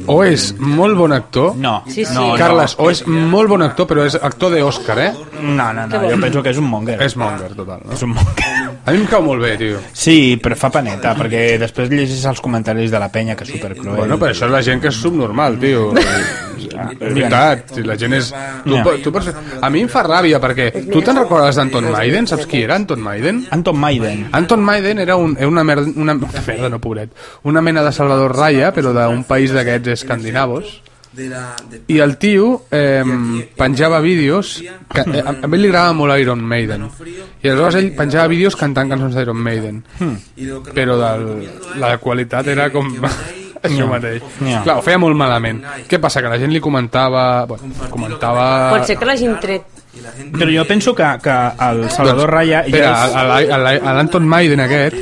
[SPEAKER 1] O és molt bon actor,
[SPEAKER 3] No,
[SPEAKER 2] Sí, sí.
[SPEAKER 3] no, no.
[SPEAKER 1] Carles, o és molt bon actor, però és actor d'Òscar, eh?
[SPEAKER 3] No, no, no, jo penso que és un monger.
[SPEAKER 1] És monger, total. No?
[SPEAKER 3] És un monger.
[SPEAKER 1] A mi em cau molt bé, tio.
[SPEAKER 3] Sí, però fa paneta, perquè després llegis els comentaris de la penya, que és supercruel.
[SPEAKER 1] Bueno, però això és la gent que és subnormal, tio.
[SPEAKER 3] *laughs*
[SPEAKER 1] És veritat, si la gent és... Tu,
[SPEAKER 3] Ja.
[SPEAKER 1] po- tu pots... A mi em fa ràbia, perquè tu te'n recordes d'Anton Maiden? Saps qui era Anton Maiden?
[SPEAKER 3] Anton Maiden.
[SPEAKER 1] Anton Maiden era, un, era una, merda, una, una merda, no, pobret, una mena de Salvador Raya, però d'un país d'aquests escandinavos,
[SPEAKER 8] de la- de-
[SPEAKER 1] i el tio eh, penjava vídeos que, eh, a, a ell li agradava molt Iron Maiden i aleshores ell penjava vídeos cantant cançons d'Iron Maiden
[SPEAKER 3] Hmm.
[SPEAKER 8] y lo que-
[SPEAKER 1] però del, la qualitat era com *laughs* això mateix
[SPEAKER 3] Ja.
[SPEAKER 1] clar, ho feia molt malament què passa? que la gent li comentava bueno, comentava
[SPEAKER 3] ah,
[SPEAKER 2] Pot ser que l'hagin tret.
[SPEAKER 8] y la gente
[SPEAKER 3] Però jo penso que, que el Salvador Raya...
[SPEAKER 1] Doncs, Espera, a- a la- a la- a l'Anton Maiden aquest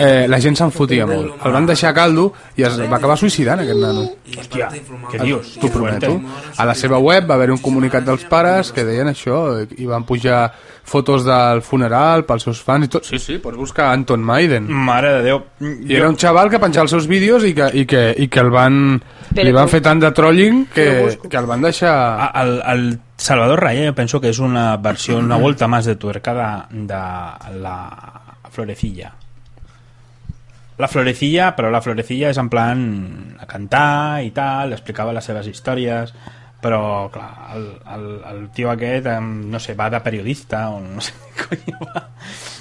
[SPEAKER 1] eh, la gent se'n fotia molt el van deixar a caldo i es va acabar suïcidant aquest nano
[SPEAKER 3] Hòstia, què dius?
[SPEAKER 1] T'ho prometo. A la seva web va haver un comunicat dels pares que deien això i van pujar fotos del funeral pels seus fans i tot. Sí, Mm. sí, pots buscar Anton Maiden.
[SPEAKER 3] Mare de Déu.
[SPEAKER 1] I era un xaval que penjava els seus vídeos i que, i que, i que el van, li van fer tant de trolling que, que el van deixar...
[SPEAKER 3] A- Ah, El, el Salvador Raya jo penso que és una versió, una volta més de tuerca de, de la florecilla. La florecilla, però la florecilla és en plan a cantar i tal, explicava les seves històries, però, clar, el, el, el tio aquest, em, no sé, va de periodista o no sé *laughs* què coi va,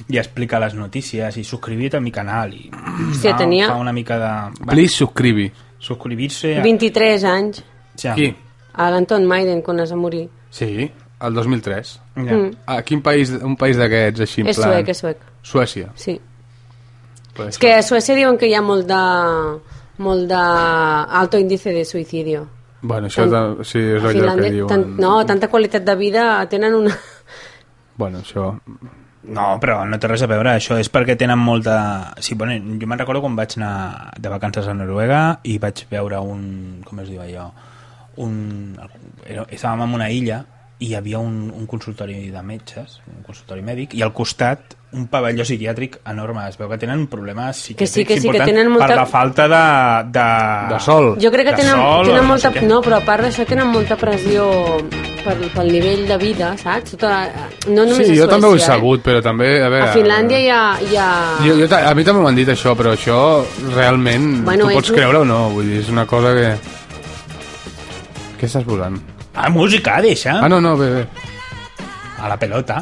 [SPEAKER 3] i explica les notícies i subscribit a mi canal i
[SPEAKER 2] Hòstia, tenia-
[SPEAKER 3] fa una mica de... Va,
[SPEAKER 1] Please subscribi.
[SPEAKER 3] subscribir-se... a-
[SPEAKER 2] 23 anys.
[SPEAKER 3] Ja.
[SPEAKER 1] Qui?
[SPEAKER 2] A l'Anton Maiden, quan es va morir.
[SPEAKER 1] Sí, el 2003.
[SPEAKER 3] Ja. Mm.
[SPEAKER 1] A quin país, un país d'aquests així en
[SPEAKER 2] És
[SPEAKER 1] plan...
[SPEAKER 2] suec, és suec.
[SPEAKER 1] Suècia.
[SPEAKER 2] Sí.
[SPEAKER 1] Pues,
[SPEAKER 2] És que a Suècia diuen que hi ha molt de molt de alto índice de suïcidio.
[SPEAKER 1] Bueno, això de, sí, és
[SPEAKER 2] A
[SPEAKER 1] allò que
[SPEAKER 2] Finlàndia,
[SPEAKER 1] diuen.
[SPEAKER 2] tant, no, tanta qualitat de vida tenen una... *laughs*
[SPEAKER 1] Bueno, això...
[SPEAKER 3] No, però no té res a veure, això és perquè tenen molta... Sí, bueno, jo me'n recordo quan vaig anar de vacances a Noruega i vaig veure un... com es diu allò? Un... era- Estàvem en una illa i hi havia un, un consultori de metges, un consultori mèdic, i al costat un pavelló psiquiàtric enorme. Es veu que tenen problemes
[SPEAKER 2] Que
[SPEAKER 3] psiquiàtrics
[SPEAKER 2] sí, que sí, que
[SPEAKER 3] importants
[SPEAKER 2] tenen molta-
[SPEAKER 3] per la falta de... De,
[SPEAKER 1] De sol.
[SPEAKER 2] Jo crec que
[SPEAKER 3] De
[SPEAKER 2] tenen,
[SPEAKER 3] sol o
[SPEAKER 2] tenen
[SPEAKER 3] no
[SPEAKER 2] molta...
[SPEAKER 3] sé què.
[SPEAKER 2] No, però a part d'això tenen molta pressió per, pel nivell de vida, saps? Tota, no només
[SPEAKER 1] Sí,
[SPEAKER 2] a Suècia,
[SPEAKER 1] jo també ho he
[SPEAKER 2] eh?
[SPEAKER 1] sabut, però també... A, veure,
[SPEAKER 2] A Finlàndia hi ha... Hi ha...
[SPEAKER 1] Jo, jo, ta- a mi també m'han dit això, però això realment
[SPEAKER 2] Bueno,
[SPEAKER 1] bueno, tu
[SPEAKER 2] és
[SPEAKER 1] pots
[SPEAKER 2] un-
[SPEAKER 1] creure o no, vull dir, és una cosa que... Què estàs volant?
[SPEAKER 3] Ah, música, deixa!
[SPEAKER 1] Ah, no, no, bé, bé.
[SPEAKER 3] A la
[SPEAKER 2] *laughs*
[SPEAKER 3] pelota.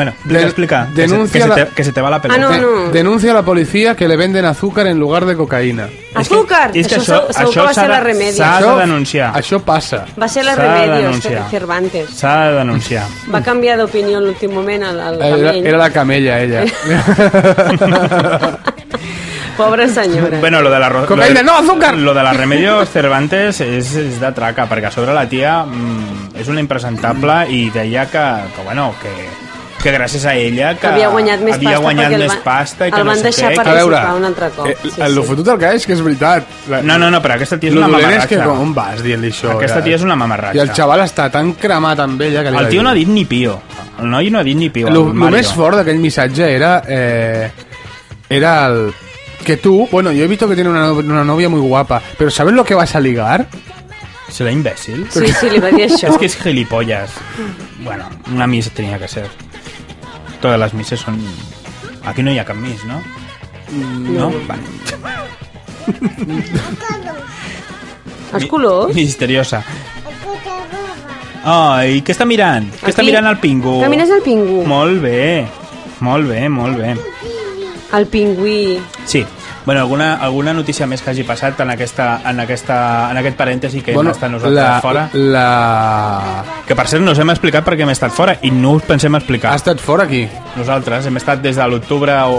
[SPEAKER 3] bueno,
[SPEAKER 1] De-
[SPEAKER 3] vull explicar. Que se,
[SPEAKER 1] denuncia
[SPEAKER 3] que, se
[SPEAKER 1] la-
[SPEAKER 3] te, que se te va la pelota.
[SPEAKER 2] Ah, no,
[SPEAKER 1] Eh, Denuncia a la policia que le venden azúcar en lugar de cocaïna.
[SPEAKER 2] Azúcar!
[SPEAKER 3] És que, és que
[SPEAKER 2] això, segur-
[SPEAKER 3] això,
[SPEAKER 2] segur que va
[SPEAKER 3] s'ha
[SPEAKER 2] ser la
[SPEAKER 3] de-
[SPEAKER 2] Remedios.
[SPEAKER 3] S'ha de denunciar.
[SPEAKER 1] Això passa.
[SPEAKER 2] Va ser la
[SPEAKER 3] S'ha de
[SPEAKER 2] Remedios,
[SPEAKER 3] denunciar.
[SPEAKER 2] Cervantes.
[SPEAKER 3] S'ha de denunciar.
[SPEAKER 2] Va canviar d'opinió en
[SPEAKER 1] Eh,
[SPEAKER 2] l'últim moment al, al *laughs*
[SPEAKER 1] Era,
[SPEAKER 2] camell.
[SPEAKER 1] era la camella, ella.
[SPEAKER 2] *laughs* Pobra senyora.
[SPEAKER 3] Bueno, lo de la... ro-
[SPEAKER 1] Cocaïna,
[SPEAKER 3] lo de-
[SPEAKER 1] no, azúcar!
[SPEAKER 3] Lo de la Remedios Cervantes és, és de traca, perquè a sobre la tia mm, és una impresentable i deia que, que bueno, que, que gràcies a ella que,
[SPEAKER 2] Que havia guanyat més
[SPEAKER 3] havia
[SPEAKER 2] pasta
[SPEAKER 3] guanyat
[SPEAKER 2] perquè el
[SPEAKER 3] més
[SPEAKER 2] van-
[SPEAKER 3] pasta i que
[SPEAKER 2] el
[SPEAKER 3] no
[SPEAKER 2] van
[SPEAKER 3] sé
[SPEAKER 2] deixar
[SPEAKER 3] què,
[SPEAKER 2] per-
[SPEAKER 3] que-
[SPEAKER 1] A veure,
[SPEAKER 2] participar un altre cop.
[SPEAKER 1] eh,
[SPEAKER 2] Sí,
[SPEAKER 1] el
[SPEAKER 2] sí.
[SPEAKER 1] fotut del que és, que és veritat. La,
[SPEAKER 3] No, no, no, però aquesta tia és
[SPEAKER 1] lo
[SPEAKER 3] una
[SPEAKER 1] dolent és que
[SPEAKER 3] mamarratxa.
[SPEAKER 1] com on vas dient-li això.
[SPEAKER 3] Aquesta
[SPEAKER 1] ja.
[SPEAKER 3] tia és una mamarratxa.
[SPEAKER 1] I el xaval està tan cremat amb ella que li
[SPEAKER 3] El
[SPEAKER 1] va
[SPEAKER 3] tio
[SPEAKER 1] dir-
[SPEAKER 3] no ha dit ni pio. El noi no ha dit ni pio.
[SPEAKER 1] Lo,
[SPEAKER 3] el
[SPEAKER 1] lo
[SPEAKER 3] Mario.
[SPEAKER 1] més fort d'aquell missatge era... Eh, era el... Que tú, bueno, yo he visto que tiene una, no- una novia muy guapa, pero ¿sabes lo que vas a ligar?
[SPEAKER 3] Serà imbècil?
[SPEAKER 2] Sí, sí, li va dir això.
[SPEAKER 3] És que és gilipollas. Bueno, una misa tenia que ser. Totes les misses són... Aquí no hi ha cap mis, no? Mm, No? Vale.
[SPEAKER 2] Els colors...
[SPEAKER 3] *laughs* Misteriosa. Ai, què està mirant? Què està
[SPEAKER 2] Aquí.
[SPEAKER 3] mirant el pingu?
[SPEAKER 2] Que mires el pingüí.
[SPEAKER 3] Molt bé. Molt bé, molt bé.
[SPEAKER 2] El pingüí.
[SPEAKER 3] Sí. Bueno, alguna, alguna notícia més que hagi passat en, aquesta, en, aquesta, en aquest parèntesi que
[SPEAKER 1] bueno,
[SPEAKER 3] hem estat nosaltres
[SPEAKER 1] la,
[SPEAKER 3] fora?
[SPEAKER 1] La...
[SPEAKER 3] Que per cert, no us hem explicat per què hem estat fora i no us pensem explicar.
[SPEAKER 1] Ha estat fora aquí.
[SPEAKER 3] Nosaltres hem estat des de l'octubre o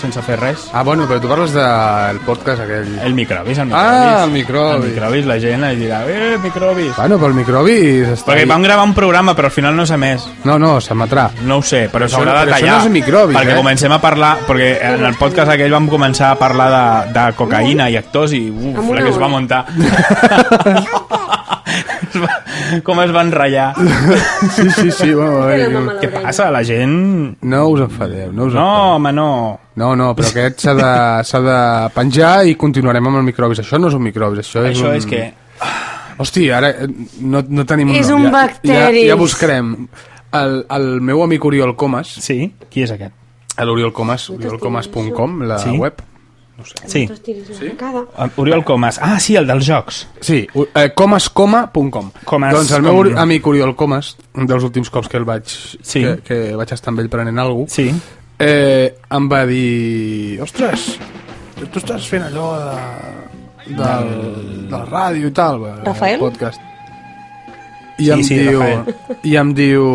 [SPEAKER 3] sense fer res.
[SPEAKER 1] Ah, bueno, però tu parles del podcast aquell.
[SPEAKER 3] El microbis, el microbis.
[SPEAKER 1] Ah, el microbis.
[SPEAKER 3] El microbis, la gent es dirà, eh, microbis.
[SPEAKER 1] Bueno, pel microbi... Està
[SPEAKER 3] Perquè
[SPEAKER 1] ahí.
[SPEAKER 3] vam gravar un programa, però al final no s'ha més.
[SPEAKER 1] No, no, s'emetrà.
[SPEAKER 3] No ho sé, però
[SPEAKER 1] Això
[SPEAKER 3] s'haurà
[SPEAKER 1] no-
[SPEAKER 3] de
[SPEAKER 1] però això
[SPEAKER 3] tallar.
[SPEAKER 1] no és microbis,
[SPEAKER 3] perquè
[SPEAKER 1] eh?
[SPEAKER 3] comencem a parlar... Perquè en el podcast aquell vam començar a parlar de, de cocaïna i actors i uf,
[SPEAKER 2] Amb una
[SPEAKER 3] la que es va
[SPEAKER 2] hora.
[SPEAKER 1] *laughs*
[SPEAKER 3] muntar. Es va- Com es van ratllar.
[SPEAKER 1] Sí, sí, sí, bueno, a veure,
[SPEAKER 2] Té la
[SPEAKER 1] jo-
[SPEAKER 2] mama a
[SPEAKER 3] Què passa? La gent...
[SPEAKER 1] No us enfadeu, no us
[SPEAKER 3] No,
[SPEAKER 1] enfadeu.
[SPEAKER 3] home, no.
[SPEAKER 1] No, no, però aquest s'ha de, s'ha de penjar i continuarem amb el microbis. Això no és un microbis, això és
[SPEAKER 3] Això
[SPEAKER 1] un...
[SPEAKER 3] és que...
[SPEAKER 1] Hosti, ara eh, no, no tenim
[SPEAKER 2] És
[SPEAKER 1] nom.
[SPEAKER 2] un
[SPEAKER 1] Ja-
[SPEAKER 2] bacteri.
[SPEAKER 1] Ja, ja buscarem. El, el meu amic Oriol Comas,
[SPEAKER 3] Sí? Qui és aquest?
[SPEAKER 1] a l'Oriol Comas, oriolcomas.com, la
[SPEAKER 3] Sí?
[SPEAKER 1] web.
[SPEAKER 3] Sí.
[SPEAKER 2] Sí?
[SPEAKER 3] Oriol Comas. Ah, sí, el dels jocs.
[SPEAKER 1] Sí, u- eh, comascoma.com.
[SPEAKER 3] Comas,
[SPEAKER 1] Doncs el meu
[SPEAKER 3] com-
[SPEAKER 1] amic Oriol Comas, un dels últims cops que el vaig,
[SPEAKER 3] Sí.
[SPEAKER 1] que, que vaig estar amb ell prenent alguna cosa,
[SPEAKER 3] Sí.
[SPEAKER 1] eh, em va dir... Ostres, tu estàs fent allò de, del, de la ràdio i tal, eh, el
[SPEAKER 2] Rafael?
[SPEAKER 1] podcast. I
[SPEAKER 3] Sí,
[SPEAKER 1] em
[SPEAKER 3] sí,
[SPEAKER 1] diu...
[SPEAKER 3] Rafael.
[SPEAKER 1] I em diu...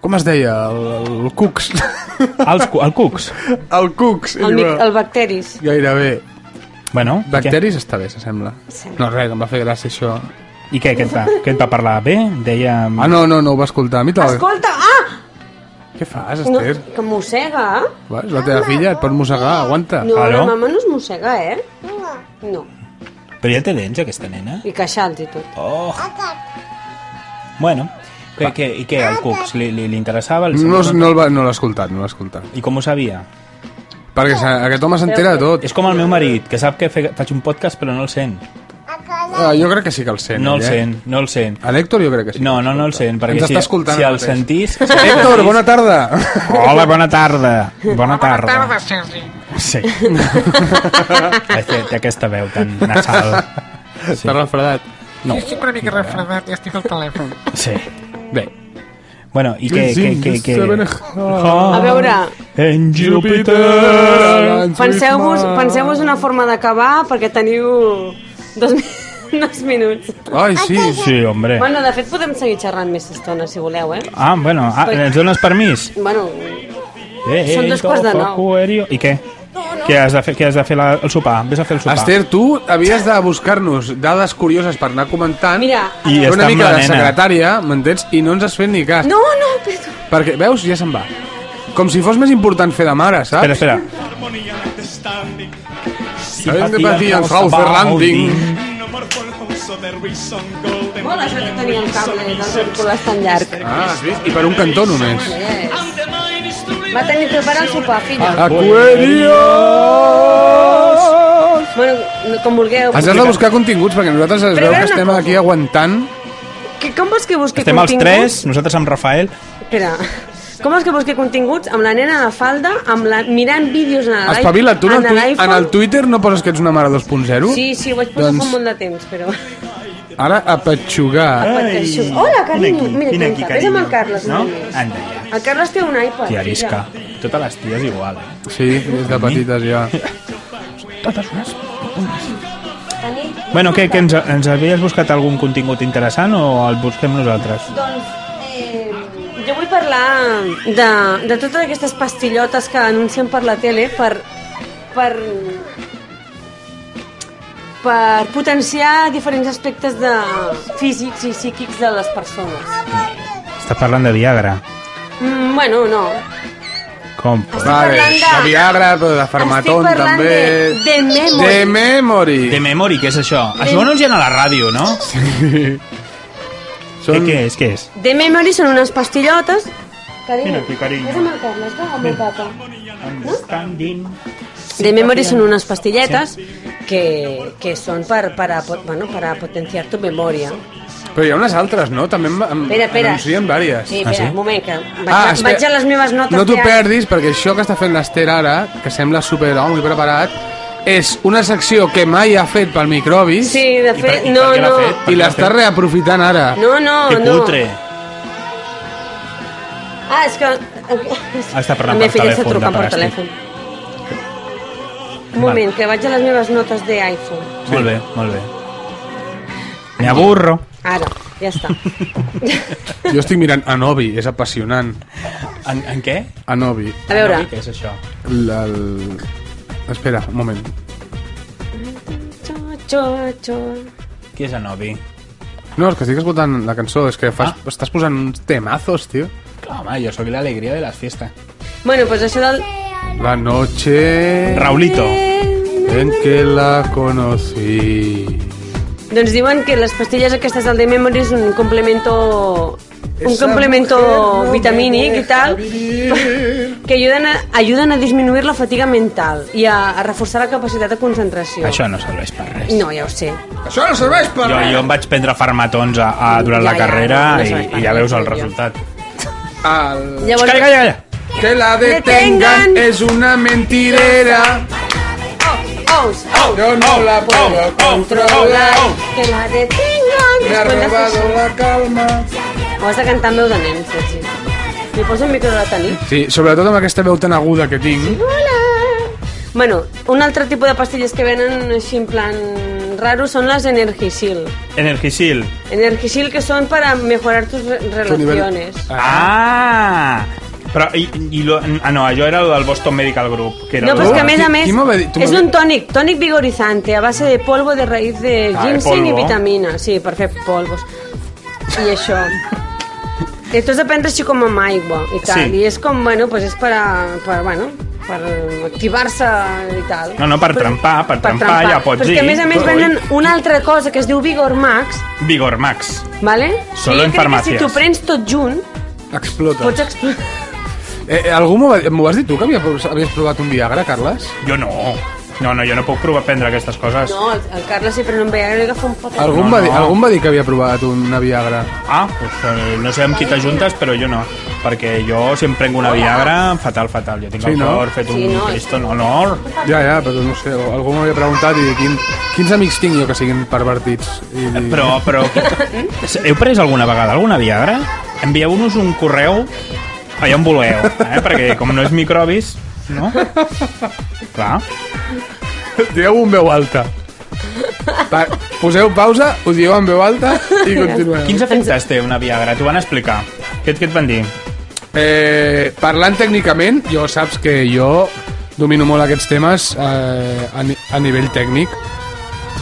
[SPEAKER 1] Com es deia? El, el Cux. *laughs*
[SPEAKER 3] Els, cu- el Cucs.
[SPEAKER 1] el Cux.
[SPEAKER 2] El, mic, el bacteris.
[SPEAKER 1] Gairebé.
[SPEAKER 3] Bueno, i què?
[SPEAKER 1] Bacteris està bé, s'assembla. No, res, que em va fer gràcia això.
[SPEAKER 3] I què, què et va, què et va parlar? Bé? Deia... mm,
[SPEAKER 1] Ah, no, no, no ho va escoltar. A mi tal.
[SPEAKER 2] Escolta, ah!
[SPEAKER 1] Què fas,
[SPEAKER 2] No,
[SPEAKER 1] Esther?
[SPEAKER 2] que mossega, eh?
[SPEAKER 1] Va, és la teva filla, et pot mossegar, aguanta.
[SPEAKER 2] No,
[SPEAKER 3] Ah, no?
[SPEAKER 2] la mama no es mossega, eh? No.
[SPEAKER 3] Però ja té dents, aquesta nena?
[SPEAKER 2] I queixals i tot.
[SPEAKER 3] Oh! Bueno, que, que, i què, el Cucs? Li, li, li interessava? El
[SPEAKER 1] No, no, el va- no l'ha escoltat, no l'ha escoltat.
[SPEAKER 3] I com ho sabia?
[SPEAKER 1] Perquè s'ha- aquest home s'entera de tot.
[SPEAKER 3] És com el meu marit, que sap que fe, faig un podcast però no el sent.
[SPEAKER 1] Ah, jo crec que sí que el sent.
[SPEAKER 3] No el
[SPEAKER 1] ell, eh?
[SPEAKER 3] sent, no el sent.
[SPEAKER 1] A l'Hèctor jo crec que sí.
[SPEAKER 3] No, no, no el sent, perquè
[SPEAKER 1] Ens
[SPEAKER 3] si,
[SPEAKER 1] està escoltant.
[SPEAKER 3] si
[SPEAKER 1] ara
[SPEAKER 3] el
[SPEAKER 1] mateix. *laughs*
[SPEAKER 3] sentís...
[SPEAKER 1] Héctor, bona tarda.
[SPEAKER 3] Hola, bona tarda. Bona tarda. Bona tarda, *laughs* Sergi. Sí. té, té aquesta veu tan nasal. Sí.
[SPEAKER 1] Està refredat.
[SPEAKER 3] No.
[SPEAKER 10] Estic una mica refredat i estic al telèfon.
[SPEAKER 3] Sí.
[SPEAKER 1] Bé,
[SPEAKER 3] Bueno, i què, què, què, Oh. què? Ah,
[SPEAKER 2] A veure,
[SPEAKER 3] En Júpiter.
[SPEAKER 2] penseu-vos penseu una forma d'acabar perquè teniu dos, mi- *laughs* dos minuts.
[SPEAKER 1] Ai, sí.
[SPEAKER 3] Sí, hombre.
[SPEAKER 2] Bueno, de fet, podem seguir xerrant més estona, si voleu, eh?
[SPEAKER 3] Ah, bueno, ah, ens dones permís?
[SPEAKER 2] Bueno,
[SPEAKER 3] Eh,
[SPEAKER 2] Són dos quarts de nou.
[SPEAKER 3] nou. I què? Què has de fer, què has de fer la, el sopar? Ves a fer el sopar.
[SPEAKER 1] Esther, tu havies de buscar-nos dades curioses per anar comentant.
[SPEAKER 2] mira...
[SPEAKER 3] I
[SPEAKER 1] Fer
[SPEAKER 3] està
[SPEAKER 1] una
[SPEAKER 3] amb
[SPEAKER 1] mica
[SPEAKER 3] la
[SPEAKER 1] de
[SPEAKER 3] nena.
[SPEAKER 1] secretària, m'entens? I no ens has fet ni cas.
[SPEAKER 2] No, no, Pedro.
[SPEAKER 1] Perquè, veus, ja se'n va. Com si fos més important fer de mare, saps?
[SPEAKER 3] Espera, espera.
[SPEAKER 1] Sabem de patir en Hauser Landing.
[SPEAKER 2] Mola això que tenia el cable del Hércules tan llarg.
[SPEAKER 1] Ah, has vist? I per un cantó només.
[SPEAKER 2] Yes. Va tenir preparar el sopar, filla.
[SPEAKER 1] Aquarius!
[SPEAKER 2] Bueno, no- com vulgueu.
[SPEAKER 1] Ens has de buscar continguts, perquè nosaltres es
[SPEAKER 2] Però
[SPEAKER 1] veu
[SPEAKER 2] era
[SPEAKER 1] que
[SPEAKER 2] una
[SPEAKER 1] estem
[SPEAKER 2] cosa.
[SPEAKER 1] aquí aguantant.
[SPEAKER 2] Que, com vols que busqui
[SPEAKER 3] Estem els
[SPEAKER 2] continguts?
[SPEAKER 3] tres, nosaltres amb Rafael.
[SPEAKER 2] Espera. Com vols que busqui continguts amb la nena a la falda, amb la... mirant vídeos en l'iPhone?
[SPEAKER 1] Espavila, tu no,
[SPEAKER 2] en
[SPEAKER 1] tu,
[SPEAKER 2] l'iPhone?
[SPEAKER 1] en el Twitter no poses que ets una mare 2.0?
[SPEAKER 2] Sí, sí, ho vaig posar
[SPEAKER 1] Doncs-
[SPEAKER 2] fa un munt de temps, però...
[SPEAKER 1] Ara a
[SPEAKER 2] Ah,
[SPEAKER 1] petxugar.
[SPEAKER 2] pateixo. Hola, carinyo. Mira,
[SPEAKER 3] vine
[SPEAKER 2] aquí, Vés amb el Carles.
[SPEAKER 3] No?
[SPEAKER 2] nena.
[SPEAKER 3] Anda, ja.
[SPEAKER 2] El Carles té un iPad.
[SPEAKER 3] Tia
[SPEAKER 2] filla.
[SPEAKER 3] arisca. Totes les ties igual, eh?
[SPEAKER 1] Sí, des de petites ja.
[SPEAKER 3] Totes unes. Bueno, què, què ens, ens havies buscat algun contingut interessant o el busquem nosaltres?
[SPEAKER 2] Doncs, eh, jo vull parlar de, de totes aquestes pastillotes que anuncien per la tele per, per per potenciar diferents aspectes de físics i psíquics de les persones.
[SPEAKER 3] Estàs parlant de Viagra.
[SPEAKER 2] Mm, bueno, no.
[SPEAKER 3] Com?
[SPEAKER 1] Vale,
[SPEAKER 2] parlant de-
[SPEAKER 1] la Viagra, però de Farmaton
[SPEAKER 2] Estic parlant
[SPEAKER 1] també.
[SPEAKER 2] de- de Memory.
[SPEAKER 1] De Memory.
[SPEAKER 3] De Memory, què és això? Això ho anuncien a la ràdio, no? Sí. Són... Què, què és? Què és?
[SPEAKER 2] The Memory són unes pastillotes... Carinyo,
[SPEAKER 3] Mira aquí, carinyo.
[SPEAKER 2] Has de marcar-les, va, amb el papa.
[SPEAKER 3] Standing.
[SPEAKER 2] De memory són unes pastilletes que, que són per, per, a, pot- bueno, per a potenciar tu memòria.
[SPEAKER 1] Però hi ha unes altres, no? També em, em
[SPEAKER 2] Espera, espera.
[SPEAKER 1] anuncien diverses.
[SPEAKER 2] Ah, Sí, espera, un moment, que vaig,
[SPEAKER 1] Ah,
[SPEAKER 2] ah,
[SPEAKER 1] espera.
[SPEAKER 2] vaig a les meves notes.
[SPEAKER 1] No t'ho
[SPEAKER 2] que hi ha.
[SPEAKER 1] perdis, perquè això que està fent l'Ester ara, que sembla superhome i preparat, és una secció que mai ha fet pel microbi
[SPEAKER 2] Sí, de fet, no, no.
[SPEAKER 1] i l'està reaprofitant ara.
[SPEAKER 2] No, no, no. Ah, és que...
[SPEAKER 3] Està
[SPEAKER 2] La
[SPEAKER 3] parlant
[SPEAKER 2] meva
[SPEAKER 3] per
[SPEAKER 2] filla està
[SPEAKER 3] telèfon.
[SPEAKER 2] trucant per
[SPEAKER 3] de
[SPEAKER 2] telèfon. Un moment, que vaig a les meves notes d'iPhone.
[SPEAKER 3] Sí. Molt bé, molt bé. Me aburro.
[SPEAKER 2] Ara, ja està.
[SPEAKER 1] Jo estic mirant Anobi, és apassionant.
[SPEAKER 3] En, en què?
[SPEAKER 1] Anobi.
[SPEAKER 2] A veure. *laughs*
[SPEAKER 3] Què és això?
[SPEAKER 1] El, el... Espera, un moment.
[SPEAKER 2] Xo, xo, xo.
[SPEAKER 3] Qui és Anobi?
[SPEAKER 1] No, és que estic escoltant la cançó, és que fas, estàs posant uns temazos, tio.
[SPEAKER 3] Home, jo sóc l'alegria de les fiestes.
[SPEAKER 2] Bueno, pues això del...
[SPEAKER 1] La noche...
[SPEAKER 3] Raulito.
[SPEAKER 1] En que la conocí...
[SPEAKER 2] Doncs diuen que les pastilles aquestes del de Memory és un complemento un complemento vitamínic i tal que ajuden a, ajuden a disminuir la fatiga mental i a, a reforçar la capacitat de concentració.
[SPEAKER 3] Això no serveix per res.
[SPEAKER 2] No, ja ho sé.
[SPEAKER 1] Això no serveix per
[SPEAKER 3] Jo, jo em vaig prendre farmatons a, a, durant
[SPEAKER 2] Ja,
[SPEAKER 3] la
[SPEAKER 2] ja,
[SPEAKER 3] carrera
[SPEAKER 2] no
[SPEAKER 3] i,
[SPEAKER 2] serveix per
[SPEAKER 3] i ja
[SPEAKER 2] res,
[SPEAKER 3] veus el
[SPEAKER 2] jo.
[SPEAKER 3] resultat.
[SPEAKER 1] Al...
[SPEAKER 2] Llavors,
[SPEAKER 3] Calla, calla, calla.
[SPEAKER 1] Que la detengan es una mentirera.
[SPEAKER 2] Oh, Ous,
[SPEAKER 1] Yo no la puedo controlar.
[SPEAKER 2] que la detingan!
[SPEAKER 1] Me ha robado la calma.
[SPEAKER 2] Ho has de cantar amb veu de nen, Sergi. Li poso un micro de la tenir.
[SPEAKER 1] Sí, sobretot amb aquesta veu tan aguda que tinc.
[SPEAKER 2] Bueno, un altre tipus de pastilles que venen així en plan raro són les Energisil.
[SPEAKER 3] Energisil.
[SPEAKER 2] Energisil que son para mejorar tus re- relaciones.
[SPEAKER 3] Ah! Però, i, i lo, ah, no, allò era el del Boston Medical Group. Que era
[SPEAKER 2] No,
[SPEAKER 3] lo
[SPEAKER 2] pues que a
[SPEAKER 3] de-
[SPEAKER 2] més a més
[SPEAKER 1] qui m'ho va dir? Tu
[SPEAKER 2] és
[SPEAKER 1] m'ho-
[SPEAKER 2] un tònic, tònic vigorizante a base de polvo de raïs de
[SPEAKER 3] Ah, de
[SPEAKER 2] ginseng i
[SPEAKER 3] polvo.
[SPEAKER 2] vitamina. Sí, per fer polvos. I això. I tu has de prendre així com amb aigua i tal.
[SPEAKER 3] Sí.
[SPEAKER 2] I és com, bueno, pues és per, a, per, bueno, per activar-se i tal.
[SPEAKER 3] No, no, per trempar, per, trempar, ja pots
[SPEAKER 2] Però és
[SPEAKER 3] dir.
[SPEAKER 2] que a més a més
[SPEAKER 3] Ui.
[SPEAKER 2] venen una altra cosa que es diu Vigor Max,
[SPEAKER 3] Vigor Max.
[SPEAKER 2] ¿vale?
[SPEAKER 3] Solo
[SPEAKER 2] I jo
[SPEAKER 3] en
[SPEAKER 2] crec
[SPEAKER 3] farmàcies.
[SPEAKER 2] Que si t'ho prens tot junt,
[SPEAKER 1] Explota.
[SPEAKER 2] pots explotar.
[SPEAKER 1] Eh, eh, algú m'ho va dir- m'ho vas dir tu, que havia prov- havies provat un Viagra, Carles?
[SPEAKER 3] Jo no. No, no, jo no puc provar prendre aquestes coses.
[SPEAKER 2] No, el, el Carles sempre no em veia, crec que fa un pot.
[SPEAKER 1] Algú, em
[SPEAKER 3] No,
[SPEAKER 1] va dir,
[SPEAKER 3] no.
[SPEAKER 1] algú em va dir que havia provat una Viagra.
[SPEAKER 3] Ah, doncs eh, no sé amb qui t'ajuntes, però jo no. Perquè jo si em prenc una Viagra, fatal, fatal. Jo tinc
[SPEAKER 1] Sí,
[SPEAKER 3] el
[SPEAKER 1] no?
[SPEAKER 3] cor fet un
[SPEAKER 2] Sí, no,
[SPEAKER 3] cristo, no, no.
[SPEAKER 1] Ja, ja, però no sé, algú m'havia preguntat i quin, quins amics tinc jo que siguin pervertits. I, i...
[SPEAKER 3] Eh, Però, però... Heu pres alguna vegada alguna Viagra? Envieu-nos un correu allà on voleu, eh? Perquè com no és microbis, no? Clar.
[SPEAKER 1] Dieu en veu alta. Pa, poseu pausa, ho dieu en veu alta i continuem.
[SPEAKER 3] Quins efectes té una Viagra? T'ho van explicar. Què, què et van dir?
[SPEAKER 1] Eh, parlant tècnicament, jo saps que jo domino molt aquests temes eh, a, ni a nivell tècnic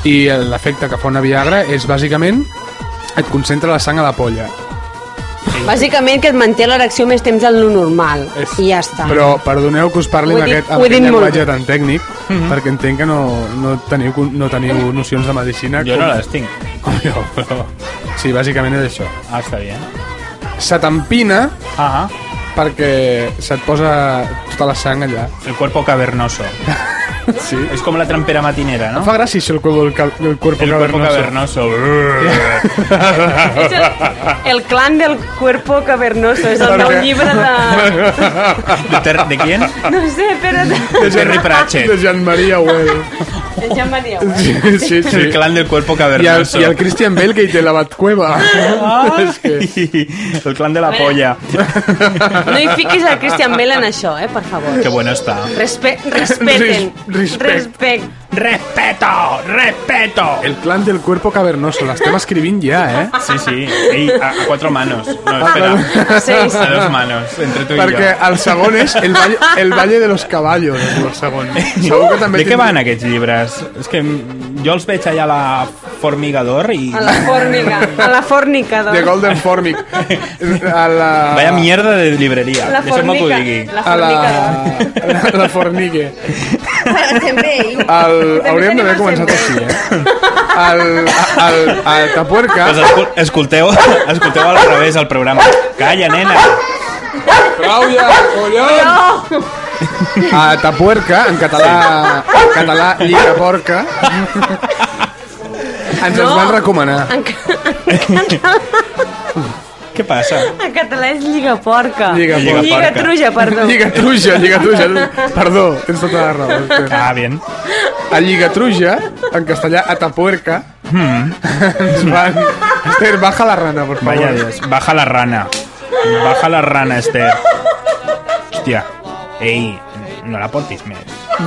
[SPEAKER 1] i l'efecte que fa una Viagra és bàsicament et concentra la sang a la polla
[SPEAKER 2] Bàsicament que et manté l'erecció més temps del normal. I ja està.
[SPEAKER 1] però perdoneu que us parli
[SPEAKER 2] Ho he
[SPEAKER 1] amb
[SPEAKER 2] dit-
[SPEAKER 1] aquest,
[SPEAKER 2] ho
[SPEAKER 1] amb
[SPEAKER 2] he
[SPEAKER 1] aquest
[SPEAKER 2] dit molt
[SPEAKER 1] llenguatge
[SPEAKER 2] bé. Mhm.
[SPEAKER 1] tan tècnic perquè entenc que no, no, teniu, con- no
[SPEAKER 2] Eh?
[SPEAKER 1] teniu nocions de medicina
[SPEAKER 3] Jo no les tinc.
[SPEAKER 1] com jo, però... sí, bàsicament és això
[SPEAKER 3] Ah, està bé.
[SPEAKER 1] se t'empina
[SPEAKER 3] Ah, ah.
[SPEAKER 1] perquè se't posa tota la sang allà
[SPEAKER 3] El cuerpo cavernoso.
[SPEAKER 1] sí.
[SPEAKER 3] És com la trampera matinera,
[SPEAKER 1] Em
[SPEAKER 3] no?
[SPEAKER 1] fa gràcia això el, cuerpo- el, ca- el cuerpo
[SPEAKER 3] El cuerpo cavernoso.
[SPEAKER 1] *laughs*
[SPEAKER 2] El clan del cuerpo cavernoso és el nou llibre de...
[SPEAKER 3] ¿De, Ter- de quién?
[SPEAKER 2] No sé, però...
[SPEAKER 3] De Terry
[SPEAKER 1] de
[SPEAKER 3] Pratchett.
[SPEAKER 1] Jean Maria Well.
[SPEAKER 2] *laughs* Ja em dieu, eh?
[SPEAKER 1] Sí, sí, sí.
[SPEAKER 3] El clan del cuerpo
[SPEAKER 1] I el,
[SPEAKER 3] cavernoso.
[SPEAKER 1] I el Christian Bale que hi té la batcueva.
[SPEAKER 3] Ah.
[SPEAKER 1] *laughs* És que...
[SPEAKER 3] El clan de la polla.
[SPEAKER 2] No hi fiquis el Christian Bale en això, eh, per favor.
[SPEAKER 3] Qué bueno está.
[SPEAKER 2] Respe respeten.
[SPEAKER 1] Ris- respect.
[SPEAKER 2] Respect.
[SPEAKER 3] ¡Respeto! ¡Respeto!
[SPEAKER 1] El clan del cuerpo cavernoso. L'estem escrivint ja, eh?
[SPEAKER 3] Sí, sí. Ey, a, a cuatro manos. Ah,
[SPEAKER 1] Ah,
[SPEAKER 3] No,
[SPEAKER 2] Ah,
[SPEAKER 3] espera.
[SPEAKER 2] Seis.
[SPEAKER 3] A dos manos. Entre tú y
[SPEAKER 1] Perquè el segon és el Valle, el Valle de los Caballos, es diu el segon.
[SPEAKER 3] yo.
[SPEAKER 1] Segur que també
[SPEAKER 3] de què
[SPEAKER 1] tindrà-
[SPEAKER 3] van aquests llibres? És que mm, jo els veig allà a la Formigador i...
[SPEAKER 2] A la forniga, a la fornica, doncs.
[SPEAKER 1] De Golden Formic. A la...
[SPEAKER 3] Vaya mierda de libreria,
[SPEAKER 2] La
[SPEAKER 3] deixa'm que ho
[SPEAKER 2] fornica,
[SPEAKER 3] digui.
[SPEAKER 2] la
[SPEAKER 1] a la, la, la fornigue.
[SPEAKER 2] doncs.
[SPEAKER 9] També ell.
[SPEAKER 1] El,
[SPEAKER 2] També
[SPEAKER 1] hauríem d'haver
[SPEAKER 2] tenim
[SPEAKER 1] començat així, eh? El, el, el, el Tapuerca...
[SPEAKER 3] Pues escol escolteu, *laughs* escolteu al revés el programa. Calla, nena!
[SPEAKER 1] Clàudia, collons! A Tapuerca, en català, en català lliga porca, ens els van recomanar.
[SPEAKER 2] En, ca- en català,
[SPEAKER 3] Què passa?
[SPEAKER 2] en català és lliga porca.
[SPEAKER 1] Lliga porca.
[SPEAKER 2] Lliga truja, perdó.
[SPEAKER 1] Lligatruja, lligatruja. Perdó, tens tota la raó. espera.
[SPEAKER 3] Ah, bien.
[SPEAKER 1] A lligatruja, en castellà, a Tapuerca, hmm, ens van... Esther, baja la rana, por favor.
[SPEAKER 3] Vaya Dios. Baja la rana. Baja la rana, Esther. Hòstia. Ei, no la portis més.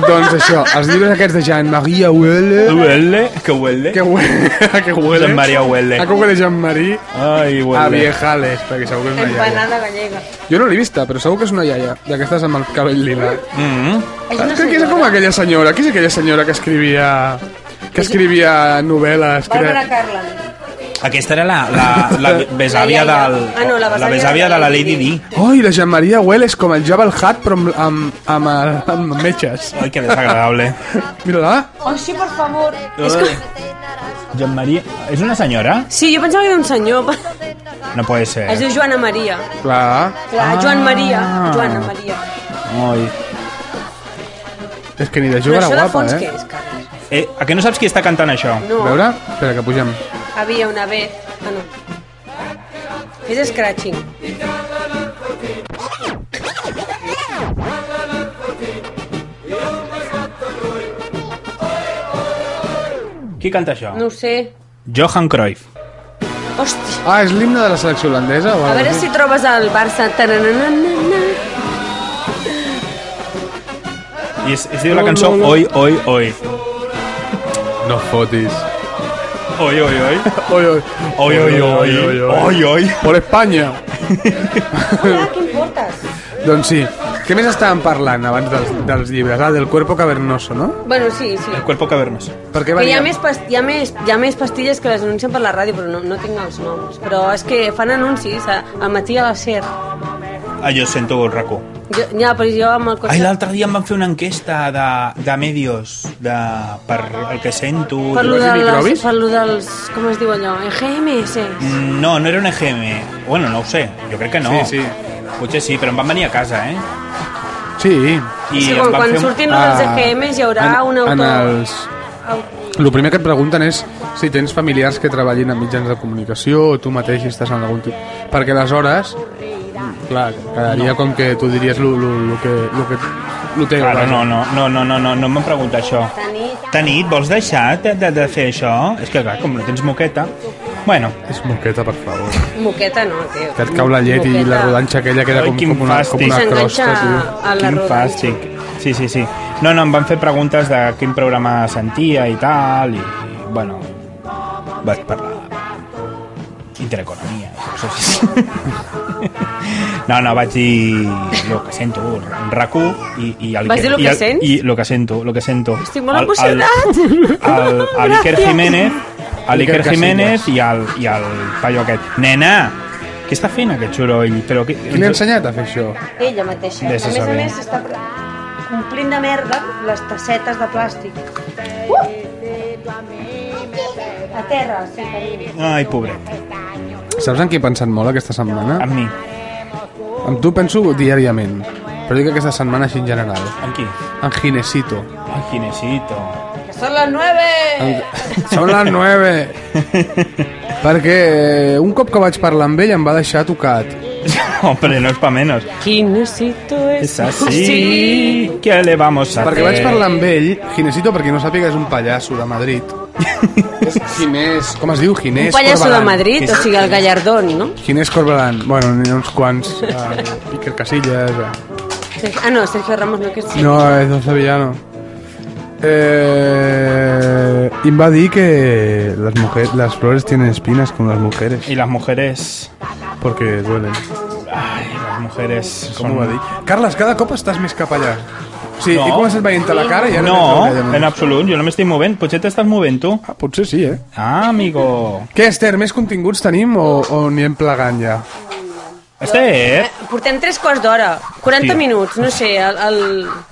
[SPEAKER 1] Doncs això, els llibres aquests de Jean-Marie Huele...
[SPEAKER 3] Huele, que huele.
[SPEAKER 1] Que huele... *laughs* Que huele...
[SPEAKER 3] Jean-Marie Huele.
[SPEAKER 1] A coca de Jean-Marie
[SPEAKER 3] Ai,
[SPEAKER 1] a
[SPEAKER 3] huele.
[SPEAKER 1] viejales, perquè segur que és una iaia.
[SPEAKER 2] Empanada gallega.
[SPEAKER 1] Jo no l'he vista, però segur que és una iaia, d'aquestes amb el cabell lila.
[SPEAKER 3] Mm
[SPEAKER 1] Crec que Ah, és com aquella senyora, qui és aquella senyora que escrivia... que escrivia novel·les... Que
[SPEAKER 2] Bàrbara
[SPEAKER 1] era...
[SPEAKER 2] Carland.
[SPEAKER 3] Aquesta era la,
[SPEAKER 1] *laughs*
[SPEAKER 3] la, la besàvia
[SPEAKER 2] La iaia.
[SPEAKER 3] del...
[SPEAKER 2] Ah, no, la besàvia
[SPEAKER 3] besàvia
[SPEAKER 2] de
[SPEAKER 3] de la
[SPEAKER 2] la Lady
[SPEAKER 3] Lady Di.
[SPEAKER 1] Oi, la Jean-Marie Huele és com el Jabal Hat, però amb, amb, amb, el- amb metges.
[SPEAKER 3] Ai, que
[SPEAKER 2] *laughs*
[SPEAKER 3] desagradable.
[SPEAKER 1] Mira-la.
[SPEAKER 2] Oh,
[SPEAKER 3] Joan Maria... És una senyora?
[SPEAKER 2] Sí, jo pensava que era un senyor.
[SPEAKER 1] Eh.
[SPEAKER 3] No puede ser.
[SPEAKER 2] Es diu Joana Maria.
[SPEAKER 1] Clar.
[SPEAKER 2] Clar, Joan Maria. Joana Maria.
[SPEAKER 3] Ai.
[SPEAKER 1] És que ni de
[SPEAKER 2] Però
[SPEAKER 1] jove era
[SPEAKER 2] això de
[SPEAKER 1] guapa,
[SPEAKER 2] fons què
[SPEAKER 1] eh?
[SPEAKER 2] és, Carles?
[SPEAKER 3] Eh, a que no saps qui està cantant això?
[SPEAKER 1] A
[SPEAKER 2] No,
[SPEAKER 1] veure? Espera, que pugem.
[SPEAKER 2] havia una vez... Ah, no. És scratching.
[SPEAKER 3] Qui canta això?
[SPEAKER 2] No ho sé.
[SPEAKER 3] Johan Cruyff.
[SPEAKER 2] Hòstia.
[SPEAKER 1] Ah, és l'himne de la selecció holandesa? O
[SPEAKER 2] A
[SPEAKER 1] algo
[SPEAKER 2] veure
[SPEAKER 1] així?
[SPEAKER 2] si trobes el Barça. Tarananana.
[SPEAKER 3] I es, es diu la cançó Oi, oi, oi.
[SPEAKER 1] No fotis.
[SPEAKER 3] Oi, oi, oi.
[SPEAKER 1] Oi, oi.
[SPEAKER 3] Oi, oi, oi. Oi, oi.
[SPEAKER 1] Por Espanya.
[SPEAKER 2] Hola, què em portes?
[SPEAKER 1] Doncs sí. Què més estàvem parlant abans dels, dels llibres? Ah, del cuerpo cavernoso, no?
[SPEAKER 2] Bueno, sí, sí.
[SPEAKER 3] El cuerpo cavernoso.
[SPEAKER 1] Per què
[SPEAKER 2] Que hi,
[SPEAKER 1] venia?
[SPEAKER 2] ha més pas- hi, ha més, hi ha més pastilles que les anuncien per la ràdio, però no, no tinc els noms. Però és que fan anuncis a, al matí a la SER.
[SPEAKER 3] Ah, jo sento el racó.
[SPEAKER 2] Jo, ja, però jo amb el
[SPEAKER 3] Ai,
[SPEAKER 2] cotxe...
[SPEAKER 3] l'altre dia em van fer una enquesta de, de medios, de, per el que sento...
[SPEAKER 2] per lo,
[SPEAKER 1] Llavors hi
[SPEAKER 2] de
[SPEAKER 1] microbis?
[SPEAKER 2] les, per lo dels... Com es diu allò? E EGMS.
[SPEAKER 3] No, no era un EGM. Bueno, no ho sé, jo crec que no.
[SPEAKER 1] Sí, sí.
[SPEAKER 3] Potser sí, però em van venir a casa, eh?
[SPEAKER 1] Sí.
[SPEAKER 3] I
[SPEAKER 2] Sí,
[SPEAKER 3] em
[SPEAKER 2] quan,
[SPEAKER 3] van
[SPEAKER 2] quan
[SPEAKER 3] fer un-
[SPEAKER 2] surtin ah, els EGMs hi haurà
[SPEAKER 1] en,
[SPEAKER 2] un autor...
[SPEAKER 1] En els... El primer que et pregunten és si tens familiars que treballin en mitjans de comunicació o tu mateix estàs en algun tipus... Perquè aleshores, clar, quedaria com que tu diries lo, lo, lo que... Lo que lo teu,
[SPEAKER 3] Claro,
[SPEAKER 1] vaja.
[SPEAKER 3] no, no, no, no, no, no, no m'han preguntat això. Tanit, vols deixar de, de, de fer això? És que clar, com no tens moqueta... Bueno,
[SPEAKER 1] És moqueta, per favor.
[SPEAKER 2] Moqueta no, tio.
[SPEAKER 1] Que et cau la llet i
[SPEAKER 2] Moqueta.
[SPEAKER 1] la rodanxa aquella queda
[SPEAKER 3] Ai,
[SPEAKER 1] com,
[SPEAKER 3] quin
[SPEAKER 1] com, una, com
[SPEAKER 3] fàstic.
[SPEAKER 1] una
[SPEAKER 2] S'enganxa
[SPEAKER 1] crosta, tio.
[SPEAKER 2] a la
[SPEAKER 3] Quin
[SPEAKER 2] rodanxa.
[SPEAKER 3] fàstic. Sí, sí, sí. No, no, em van fer preguntes de quin programa sentia i tal, i, i bueno, vaig parlar intereconomia. i coses així. *laughs* No, no, vaig dir lo que sento, RAC1 i, i el
[SPEAKER 2] Vas dir lo
[SPEAKER 3] i
[SPEAKER 2] que
[SPEAKER 3] el-
[SPEAKER 2] sents?
[SPEAKER 3] I lo que sento, lo que sento.
[SPEAKER 2] Estic molt
[SPEAKER 3] El- el- *laughs*
[SPEAKER 2] emocionat.
[SPEAKER 3] el- el Iker
[SPEAKER 2] Gràcies.
[SPEAKER 3] Jiménez, a l'Iker
[SPEAKER 1] Iker
[SPEAKER 3] Jiménez i el, i el paio aquest. Nena, què està fent aquest soroll? Però, qui,
[SPEAKER 1] Qui l'ha ensenyat a fer això?
[SPEAKER 2] Ella mateixa.
[SPEAKER 3] Vés
[SPEAKER 2] a
[SPEAKER 3] a
[SPEAKER 2] més a
[SPEAKER 3] saber.
[SPEAKER 2] més, s'està pre- complint de merda les tassetes de plàstic. Uh! A terra, sí, carinyo.
[SPEAKER 3] Ai, pobret,
[SPEAKER 1] Saps en què he pensat molt aquesta setmana?
[SPEAKER 3] amb mi.
[SPEAKER 1] Amb tu penso diàriament, però dic aquesta setmana així en general.
[SPEAKER 3] Amb qui?
[SPEAKER 1] En Ginesito.
[SPEAKER 3] Ai, Ginesito.
[SPEAKER 2] Que són les 9!
[SPEAKER 1] En- *laughs* Són les 9. Perquè eh, un cop que vaig parlar amb ell em va deixar tocat.
[SPEAKER 3] Hombre, no es pa menos.
[SPEAKER 2] Quinesito
[SPEAKER 3] Es así. ¿Qué le vamos a
[SPEAKER 1] Perquè
[SPEAKER 3] hacer?
[SPEAKER 1] vaig parlar amb ell, Ginesito, perquè no sàpiga, és un pallasso de Madrid. És Ginés, com es diu? Ginés
[SPEAKER 2] Un pallasso de
[SPEAKER 1] Corbalán.
[SPEAKER 2] Madrid, o sigui, el Gallardón, no?
[SPEAKER 1] Ginés Corbalán. Bueno, n'hi ha uns quants. Eh, Iker Casillas... Eh.
[SPEAKER 2] Sergio- Ah, no, Sergio Ramos no que sí.
[SPEAKER 1] No, es don Sevillano. Eh, y va a decir que las, mujeres, las flores tienen espinas como las mujeres,
[SPEAKER 3] Y las mujeres...
[SPEAKER 1] porque duelen.
[SPEAKER 3] Ay, las mujeres...
[SPEAKER 1] Com ho va
[SPEAKER 3] Son...
[SPEAKER 1] dir? Carles, cada cop estàs més cap allà. Sí, no. he començat veient la cara i ara...
[SPEAKER 3] No, en absolut, jo no m'estic movent. Potser t'estàs movent tu.
[SPEAKER 1] Ah, potser sí, eh?
[SPEAKER 3] Ah, amigo.
[SPEAKER 1] Què, Esther, més continguts tenim o, o anirem plegant ja?
[SPEAKER 3] Esther,
[SPEAKER 2] Portem tres quarts d'hora, 40
[SPEAKER 3] Hòstia. Ah.
[SPEAKER 2] minuts, no sé, el... el...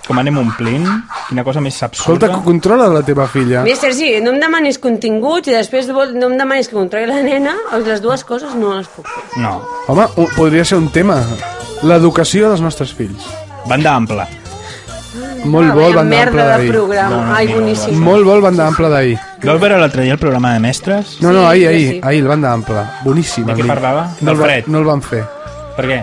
[SPEAKER 3] com anem omplint? Quina cosa més absurda.
[SPEAKER 1] Escolta, co- controla la teva filla.
[SPEAKER 2] Mira, Sergi, no em demanis continguts i després vol- no em demanis que controli la nena, les dues coses no les puc fer.
[SPEAKER 3] No,
[SPEAKER 1] Home, ho- podria ser un tema. L'educació dels nostres fills.
[SPEAKER 3] banda ampla.
[SPEAKER 1] Molt
[SPEAKER 2] Ah,
[SPEAKER 1] bo el
[SPEAKER 2] vaya
[SPEAKER 1] banda ampla
[SPEAKER 2] merda de
[SPEAKER 1] d'ahir.
[SPEAKER 2] programa,
[SPEAKER 3] No, no,
[SPEAKER 2] ai,
[SPEAKER 3] mira,
[SPEAKER 2] boníssim.
[SPEAKER 1] Molt bo el banda ampla d'ahir.
[SPEAKER 3] Vau veure l'altre dia el programa de mestres?
[SPEAKER 1] No, no,
[SPEAKER 2] Sí,
[SPEAKER 1] ahir,
[SPEAKER 2] jo
[SPEAKER 1] ahir,
[SPEAKER 2] sí.
[SPEAKER 1] ahir, el banda ampla. Boníssim.
[SPEAKER 3] De què
[SPEAKER 1] amic.
[SPEAKER 3] parlava?
[SPEAKER 1] No el,
[SPEAKER 3] Del
[SPEAKER 1] va,
[SPEAKER 3] fred.
[SPEAKER 1] no el van fer.
[SPEAKER 3] Per què?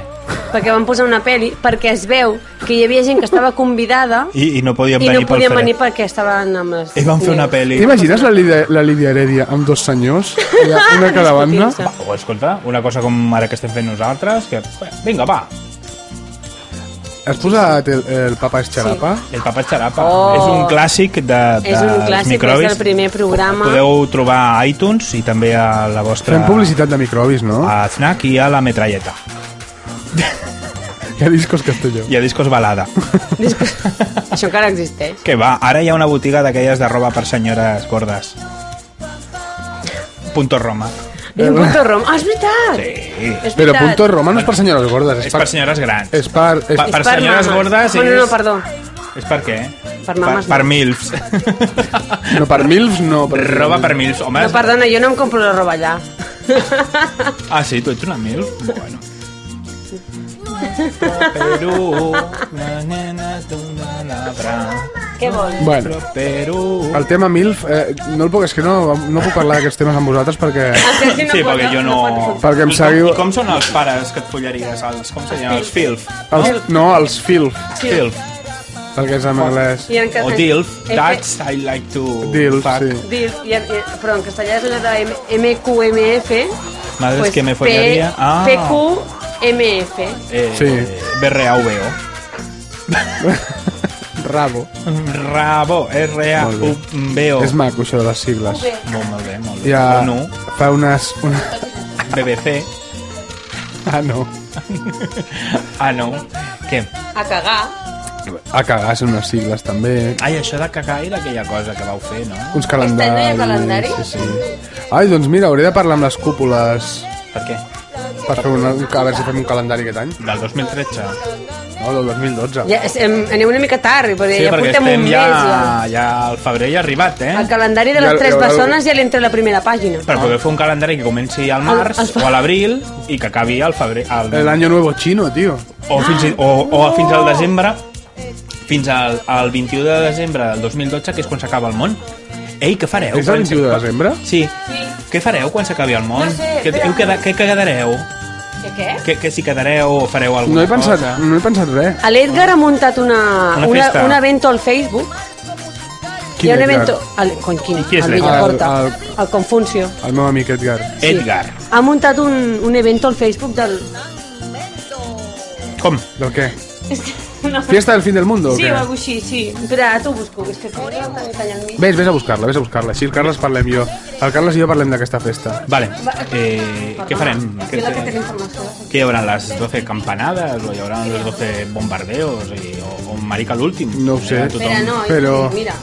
[SPEAKER 2] Perquè van posar una peli perquè es veu que hi havia gent que estava convidada
[SPEAKER 3] I, i no podíem
[SPEAKER 2] i
[SPEAKER 3] venir
[SPEAKER 2] no podien
[SPEAKER 3] pel fred.
[SPEAKER 2] venir perquè estaven amb les...
[SPEAKER 3] I van fer una pel·li.
[SPEAKER 1] T'imagines la, Lídia- la Lídia Heredia amb dos
[SPEAKER 2] *laughs*
[SPEAKER 1] senyors? Allà, una a cada banda?
[SPEAKER 2] Discutint-se.
[SPEAKER 3] O Oh, escolta, una cosa com ara que estem fent nosaltres, que... Vinga, va,
[SPEAKER 1] Has posat el, el papa esxarapa?
[SPEAKER 3] el papà xarapa.
[SPEAKER 2] Oh.
[SPEAKER 3] És un clàssic de, de
[SPEAKER 2] És un
[SPEAKER 3] dels
[SPEAKER 2] clàssic, és
[SPEAKER 3] microbis.
[SPEAKER 2] el primer programa.
[SPEAKER 3] Podeu trobar a iTunes i també a la vostra...
[SPEAKER 1] Fem publicitat de microbis, no?
[SPEAKER 3] A Fnac i a la metralleta.
[SPEAKER 1] *laughs* Hi ha discos castelló.
[SPEAKER 3] I a Discos
[SPEAKER 1] *laughs*
[SPEAKER 3] Balada.
[SPEAKER 2] Això encara existeix.
[SPEAKER 3] que va, ara hi ha una botiga d'aquelles de roba per senyores gordes. Punto Roma.
[SPEAKER 2] I un punto rom. Ah, és veritat!
[SPEAKER 3] Sí.
[SPEAKER 2] És
[SPEAKER 1] Però
[SPEAKER 2] veritat.
[SPEAKER 1] Punto Roma no és per senyores gordes,
[SPEAKER 3] És per senyores grans.
[SPEAKER 1] És per... És,
[SPEAKER 3] Pa-
[SPEAKER 2] És
[SPEAKER 3] per senyores
[SPEAKER 2] mames.
[SPEAKER 3] gordes
[SPEAKER 2] Bueno,
[SPEAKER 3] és-
[SPEAKER 2] no, perdó.
[SPEAKER 3] És per què?
[SPEAKER 2] Per mames
[SPEAKER 3] Per, per
[SPEAKER 2] no. *laughs*
[SPEAKER 3] milfs.
[SPEAKER 1] No, per milfs no. Per
[SPEAKER 3] roba per milfs. Home,
[SPEAKER 2] No,
[SPEAKER 3] és-
[SPEAKER 2] perdona, jo no em compro la roba allà.
[SPEAKER 3] Ah, sí, tu ets una mil? Bueno. Perú, la nena d'una labra.
[SPEAKER 2] Què vols?
[SPEAKER 1] Bueno,
[SPEAKER 3] Perú.
[SPEAKER 1] el tema milf, eh, no el puc, és que no, no puc parlar d'aquests temes amb vosaltres perquè...
[SPEAKER 2] Sergi
[SPEAKER 3] Sí, perquè jo no...
[SPEAKER 2] pot-
[SPEAKER 1] Perquè em
[SPEAKER 3] I com-
[SPEAKER 1] seguiu-
[SPEAKER 3] I com són els pares que et follaries? Els, com serien? Els filf. Ah.
[SPEAKER 1] Els, no, els filf,
[SPEAKER 3] Filf.
[SPEAKER 1] el que és en anglès.
[SPEAKER 2] I en ca-
[SPEAKER 3] O dilf.
[SPEAKER 2] Eh,
[SPEAKER 3] That's I like to...
[SPEAKER 1] Dilf,
[SPEAKER 3] fuck.
[SPEAKER 1] sí.
[SPEAKER 2] Dilf, i en, i- però en castellà és allò de M- MQMF.
[SPEAKER 3] Madres
[SPEAKER 2] pues
[SPEAKER 3] que me
[SPEAKER 2] P-
[SPEAKER 3] follaria. Ah.
[SPEAKER 2] PQMF.
[SPEAKER 3] Eh,
[SPEAKER 1] Sí.
[SPEAKER 3] B-R-A-V-O.
[SPEAKER 1] Rabo.
[SPEAKER 3] Rabo. R-A-U-B-O.
[SPEAKER 1] És maco, això de les sigles.
[SPEAKER 3] Molt, molt bé, molt bé.
[SPEAKER 1] Ja
[SPEAKER 3] Oh. Ah, No,
[SPEAKER 1] fa unes... Una... *laughs*
[SPEAKER 3] BBC.
[SPEAKER 1] Ah, no.
[SPEAKER 3] Ah, no. Què?
[SPEAKER 2] A cagar.
[SPEAKER 1] A cagar són unes sigles, també.
[SPEAKER 3] Ai, això de cagar era aquella cosa que vau fer, no?
[SPEAKER 1] Uns calendaris.
[SPEAKER 2] Aquest any no hi ha calendari?
[SPEAKER 1] Sí, sí. Ai, doncs mira, hauré de parlar amb les cúpules
[SPEAKER 3] Per què?
[SPEAKER 1] per fer una, a veure si fem un calendari aquest any.
[SPEAKER 3] Del 2013.
[SPEAKER 1] No, del 2012.
[SPEAKER 2] Ja, es- em- aneu una mica tard, perquè ja
[SPEAKER 3] perquè
[SPEAKER 2] portem un
[SPEAKER 3] estem
[SPEAKER 2] mes.
[SPEAKER 3] ja,
[SPEAKER 2] Ja...
[SPEAKER 3] ja al febrer ja ha arribat, eh?
[SPEAKER 2] El calendari de
[SPEAKER 1] Ja-
[SPEAKER 2] les
[SPEAKER 1] ja
[SPEAKER 2] tres
[SPEAKER 1] haurà-
[SPEAKER 2] bessones ja l'entra a la primera pàgina.
[SPEAKER 3] Per poder fer un calendari que comenci al març
[SPEAKER 2] Al- al fe-
[SPEAKER 3] o a l'abril i que acabi al febrer. Al,
[SPEAKER 1] El año Eh, nuevo chino, tío.
[SPEAKER 3] o, fins, i- o, o fins al desembre, fins al, al 21 de desembre del 2012, que és quan s'acaba el món. Ei, què fareu?
[SPEAKER 1] És el
[SPEAKER 3] quan
[SPEAKER 1] 21 de
[SPEAKER 3] s'acaba-
[SPEAKER 1] desembre?
[SPEAKER 3] Sí. sí. Què fareu quan s'acabi el món?
[SPEAKER 2] No sé,
[SPEAKER 3] què,
[SPEAKER 2] espera.
[SPEAKER 3] heu queda, què quedareu?
[SPEAKER 2] Què, què?
[SPEAKER 3] Que, que si quedareu o fareu alguna
[SPEAKER 1] No he pensat, eh?
[SPEAKER 3] cosa?
[SPEAKER 1] no he pensat res.
[SPEAKER 2] L'Edgar ha muntat una,
[SPEAKER 3] Una
[SPEAKER 2] una,
[SPEAKER 3] festa.
[SPEAKER 2] un evento al Facebook.
[SPEAKER 1] Quin
[SPEAKER 2] Hi ha un
[SPEAKER 1] Edgar?
[SPEAKER 2] evento... El, con, quin,
[SPEAKER 3] I qui és
[SPEAKER 2] el
[SPEAKER 3] l'Edgar?
[SPEAKER 2] Villacorta,
[SPEAKER 1] El-
[SPEAKER 2] el,
[SPEAKER 1] el-
[SPEAKER 2] Confuncio.
[SPEAKER 1] El meu amic Edgar.
[SPEAKER 3] Edgar.
[SPEAKER 2] Ha muntat un, un evento al Facebook del...
[SPEAKER 3] Com?
[SPEAKER 1] Del què?
[SPEAKER 2] És que *laughs* no.
[SPEAKER 1] Fiesta del fin del mundo o
[SPEAKER 2] Sí,
[SPEAKER 1] què?
[SPEAKER 2] o alguna així, sí. Espera, ara t'ho busco, que és que tinc una mica enmig.
[SPEAKER 1] Ves, ves a buscar-la, ves a buscar-la. Així el Carles parlem jo. El Carles i jo parlem d'aquesta festa.
[SPEAKER 3] Vale. Eh, què farem?
[SPEAKER 2] Aquí la que té la informació.
[SPEAKER 3] que hi haurà les 12 campanades o hi haurà els 12 bombardeos i, o, o Marica l'últim
[SPEAKER 1] No ho sé.
[SPEAKER 3] Eh, tothom.
[SPEAKER 2] Espera, no,
[SPEAKER 1] Però-
[SPEAKER 2] però... mira.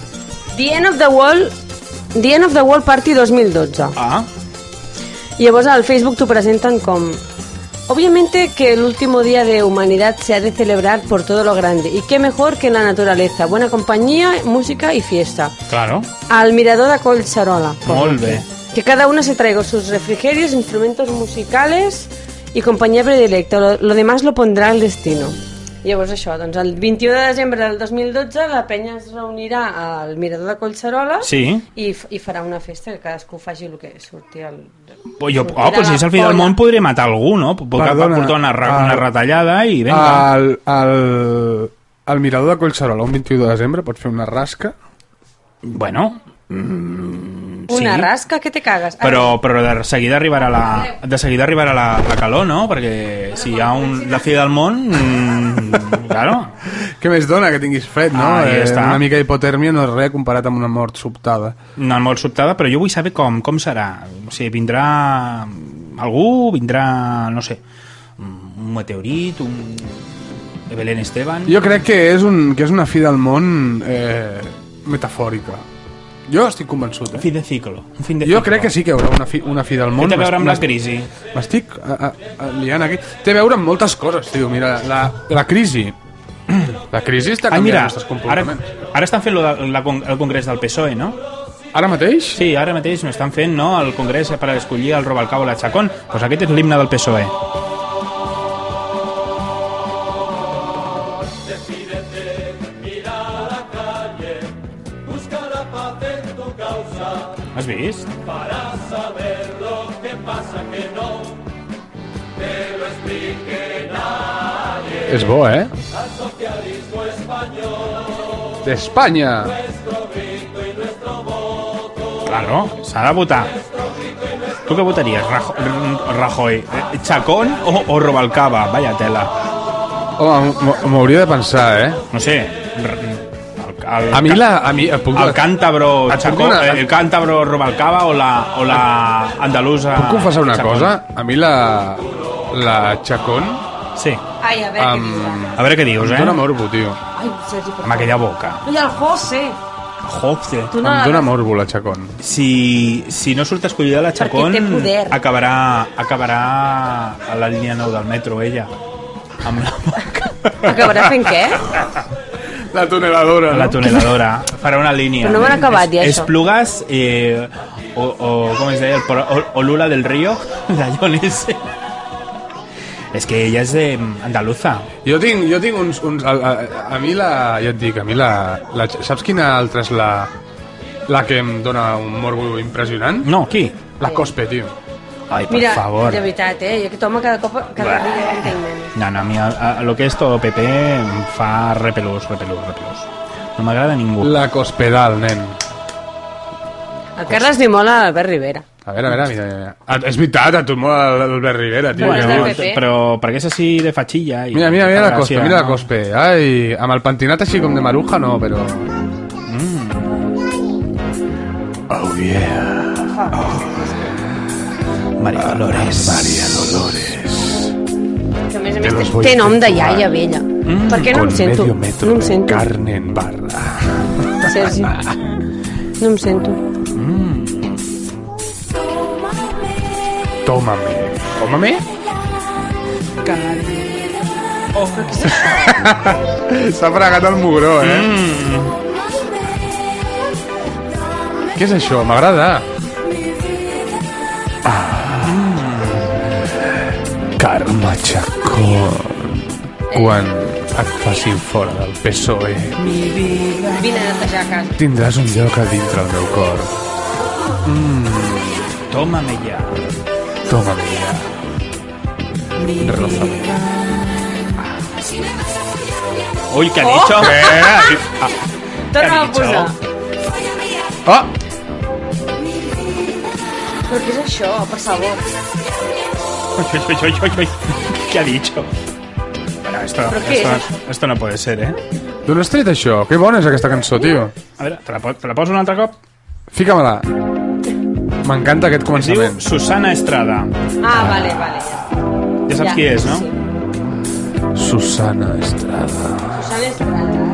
[SPEAKER 2] The End of the World... The End of the World Party 2012.
[SPEAKER 3] ah,
[SPEAKER 2] Llavors al Facebook t'ho presenten com... Obviamente que el último día de humanidad se ha de celebrar por todo lo grande. Y qué mejor que en la naturaleza. Buena compañía, música y fiesta.
[SPEAKER 3] claro
[SPEAKER 2] Al mirador de Collserola.
[SPEAKER 3] molt bé
[SPEAKER 2] Que cada uno se traiga sus refrigerios, instrumentos musicales y compañía predilecta. Lo, lo demás lo pondrá el destino. Llavors això, doncs el 21 de desembre del 2012 la penya es reunirà al mirador de Collserola
[SPEAKER 3] Sí.
[SPEAKER 2] i, f- i farà una festa que cadascú faci el que surti al...
[SPEAKER 3] Pues jo,
[SPEAKER 2] surti
[SPEAKER 3] oh,
[SPEAKER 2] de
[SPEAKER 3] pues si
[SPEAKER 2] la
[SPEAKER 3] és el fill del
[SPEAKER 2] polla.
[SPEAKER 3] món podré matar algú, no? Puc
[SPEAKER 1] Perdona,
[SPEAKER 3] portar una, ra
[SPEAKER 1] ah,
[SPEAKER 3] una retallada i vinga.
[SPEAKER 1] Al, al, al mirador de Collserola, un 21 de desembre, pots fer una rasca.
[SPEAKER 3] bueno, mm,
[SPEAKER 2] Una
[SPEAKER 3] sí.
[SPEAKER 2] rasca que te cagues. Ah,
[SPEAKER 3] Però, però de seguida arribarà la, de seguida arribarà la, la calor, no? Perquè si hi ha un, la fi del món... Mm, *laughs* claro.
[SPEAKER 1] Què més dona que tinguis fred, no? Eh,
[SPEAKER 3] Ah, ja està.
[SPEAKER 1] Una mica d'hipotèrmia no és res comparat amb una mort sobtada.
[SPEAKER 3] No, molt sobtada, però jo vull saber com, com serà. O sigui, vindrà algú, vindrà, no sé, un meteorit, un... de Belén Esteban.
[SPEAKER 1] Jo crec que és, un, que és una fi del món eh, metafòrica. Jo estic convençut, eh?
[SPEAKER 3] Fi de ciclo. Un fin de
[SPEAKER 1] Jo
[SPEAKER 3] ciclo.
[SPEAKER 1] crec que sí que hi haurà una fi, una fi del món.
[SPEAKER 3] Té a veure amb la
[SPEAKER 1] M'est-
[SPEAKER 3] crisi.
[SPEAKER 1] M'estic a- a- a- liant aquí. Té a veure amb moltes coses, tio. Mira, la, la crisi. *clears throat* La crisi està
[SPEAKER 3] Ah,
[SPEAKER 1] canviant
[SPEAKER 3] mira,
[SPEAKER 1] els nostres
[SPEAKER 3] ara,
[SPEAKER 1] comportaments.
[SPEAKER 3] ara estan fent lo del- la, con- el congrés del PSOE, E, no?
[SPEAKER 1] Ara mateix?
[SPEAKER 3] Sí, ara mateix no estan fent no, el congrés per escollir el Robalcabo a la Chacón. Doncs pues aquest és l'himne del PSOE. ¿Has vist?
[SPEAKER 4] Para saber lo que pasa que no te lo explique nadie.
[SPEAKER 1] És bo, eh?
[SPEAKER 4] Al socialismo español,
[SPEAKER 1] D'Espanya!
[SPEAKER 4] nuestro grito y nuestro voto.
[SPEAKER 3] Claro, s'ha de votar. Tu què votaries? Rajo- Rajoy? Eh, ¿Chacón o, o Robalcaba? Vaya tela.
[SPEAKER 1] Home, m'ho- m'hauria de pensar, eh?
[SPEAKER 3] No sé. El, el,
[SPEAKER 1] A mi la... A mi, eh, puc,
[SPEAKER 3] El cántabro
[SPEAKER 1] Et puc
[SPEAKER 3] Chacón,
[SPEAKER 1] donar-
[SPEAKER 3] el cántabro Robalcaba o la, o la andalusa
[SPEAKER 1] puc confessar una
[SPEAKER 3] Chacón?
[SPEAKER 1] cosa? A mi la... La Chacón...
[SPEAKER 3] Sí.
[SPEAKER 2] Ai, a veure què dius.
[SPEAKER 3] A veure què dius, eh?
[SPEAKER 1] Em dóna morbo, tio.
[SPEAKER 2] Ai, Sergi, per
[SPEAKER 3] Amb aquella boca.
[SPEAKER 2] favor. I el José.
[SPEAKER 3] Jose.
[SPEAKER 2] Tu
[SPEAKER 1] Em
[SPEAKER 2] no
[SPEAKER 1] dóna
[SPEAKER 2] l'agafes.
[SPEAKER 1] morbo la Chacón.
[SPEAKER 3] Si, si no surt escollida la Chacón,
[SPEAKER 2] té poder.
[SPEAKER 3] acabarà, acabarà a la línia 9 del metro, ella. Amb la boca.
[SPEAKER 2] Acabarà fent què?
[SPEAKER 1] La tuneladora,
[SPEAKER 3] La tuneladora. Farà una línia.
[SPEAKER 2] Però no m'han acabat, ja,
[SPEAKER 3] Es,
[SPEAKER 2] això.
[SPEAKER 3] plugas eh, o, o, com es deia, el pro- o, o Lula del Río, *laughs* la Jonese. És que ella és de andaluza.
[SPEAKER 1] Jo tinc, jo tinc uns... uns a, a, a mi la... Ja et dic, a mi la, la... Saps quina altra és la... La que em dóna un morbo impressionant?
[SPEAKER 3] No, qui?
[SPEAKER 1] La Cospe, tio.
[SPEAKER 3] Ai, per
[SPEAKER 2] Mira,
[SPEAKER 3] favor.
[SPEAKER 2] de veritat, eh? Jo aquest home cada cop... Cada
[SPEAKER 3] Bah.
[SPEAKER 2] dia entenc menys.
[SPEAKER 3] No, no, a mi a, a, lo que és todo PP em fa repelús, repelús, repelús. No m'agrada ningú. La...
[SPEAKER 1] La Cospedal, nen.
[SPEAKER 2] El Carles li mola l'Albert Rivera.
[SPEAKER 1] A veure, a veure, mira, mira. Ah, És veritat, a tu et mola l'Albert Rivera, tio. que
[SPEAKER 2] Bueno, és del
[SPEAKER 1] bo.
[SPEAKER 2] PP.
[SPEAKER 3] però perquè és així de fatxilla i
[SPEAKER 1] Mira, mira, mira la Cospe,
[SPEAKER 3] gràcia,
[SPEAKER 1] mira la
[SPEAKER 3] no?
[SPEAKER 1] Cospe. Ai, amb el pentinat així com de maruja, no, però...
[SPEAKER 3] Oh yeah. Oh. María Dolores. María
[SPEAKER 1] Dolores.
[SPEAKER 2] Que a més a
[SPEAKER 1] Te los
[SPEAKER 2] més té,
[SPEAKER 1] voy
[SPEAKER 2] té
[SPEAKER 1] a
[SPEAKER 2] nom de
[SPEAKER 1] efectuar.
[SPEAKER 2] iaia vella. Mm, per què no em sento? No em sento,
[SPEAKER 1] carne en barra.
[SPEAKER 2] Sergi. No em sento.
[SPEAKER 1] Tómame. Tómame? S'ha fregat el mugró, eh? Mm. Què és això? M'agrada. Carme Chacón. Quan et facin fora del PSOE,
[SPEAKER 2] Vine a netejar a casa.
[SPEAKER 1] E, tindràs un lloc a dintre el meu cor.
[SPEAKER 3] Tómame ya.
[SPEAKER 1] Tómame ya. Rózame.
[SPEAKER 3] Uy,
[SPEAKER 2] Oh.
[SPEAKER 3] ¿qué ha dicho? Ah,
[SPEAKER 2] Torna a
[SPEAKER 3] dicho?
[SPEAKER 2] posar.
[SPEAKER 1] Oh!
[SPEAKER 2] Però què és això, per favor?
[SPEAKER 3] Uy, uy, uy, uy, uy. ¿Qué ha dicho? Bueno, esto,
[SPEAKER 2] ¿Pero qué
[SPEAKER 3] esto,
[SPEAKER 2] es?
[SPEAKER 3] esto no puede ser, ¿eh?
[SPEAKER 1] D'on has tret això? Que bona és aquesta cançó, tio.
[SPEAKER 3] A veure, te la, po- te la poso un altre cop?
[SPEAKER 1] Fica-me-la. M'encanta aquest
[SPEAKER 3] Es diu
[SPEAKER 1] començament.
[SPEAKER 3] Susana Estrada.
[SPEAKER 2] Ah, vale, vale.
[SPEAKER 3] Ja saps qui és, no?
[SPEAKER 2] Sí.
[SPEAKER 1] Susana Estrada.
[SPEAKER 2] Susana Estrada.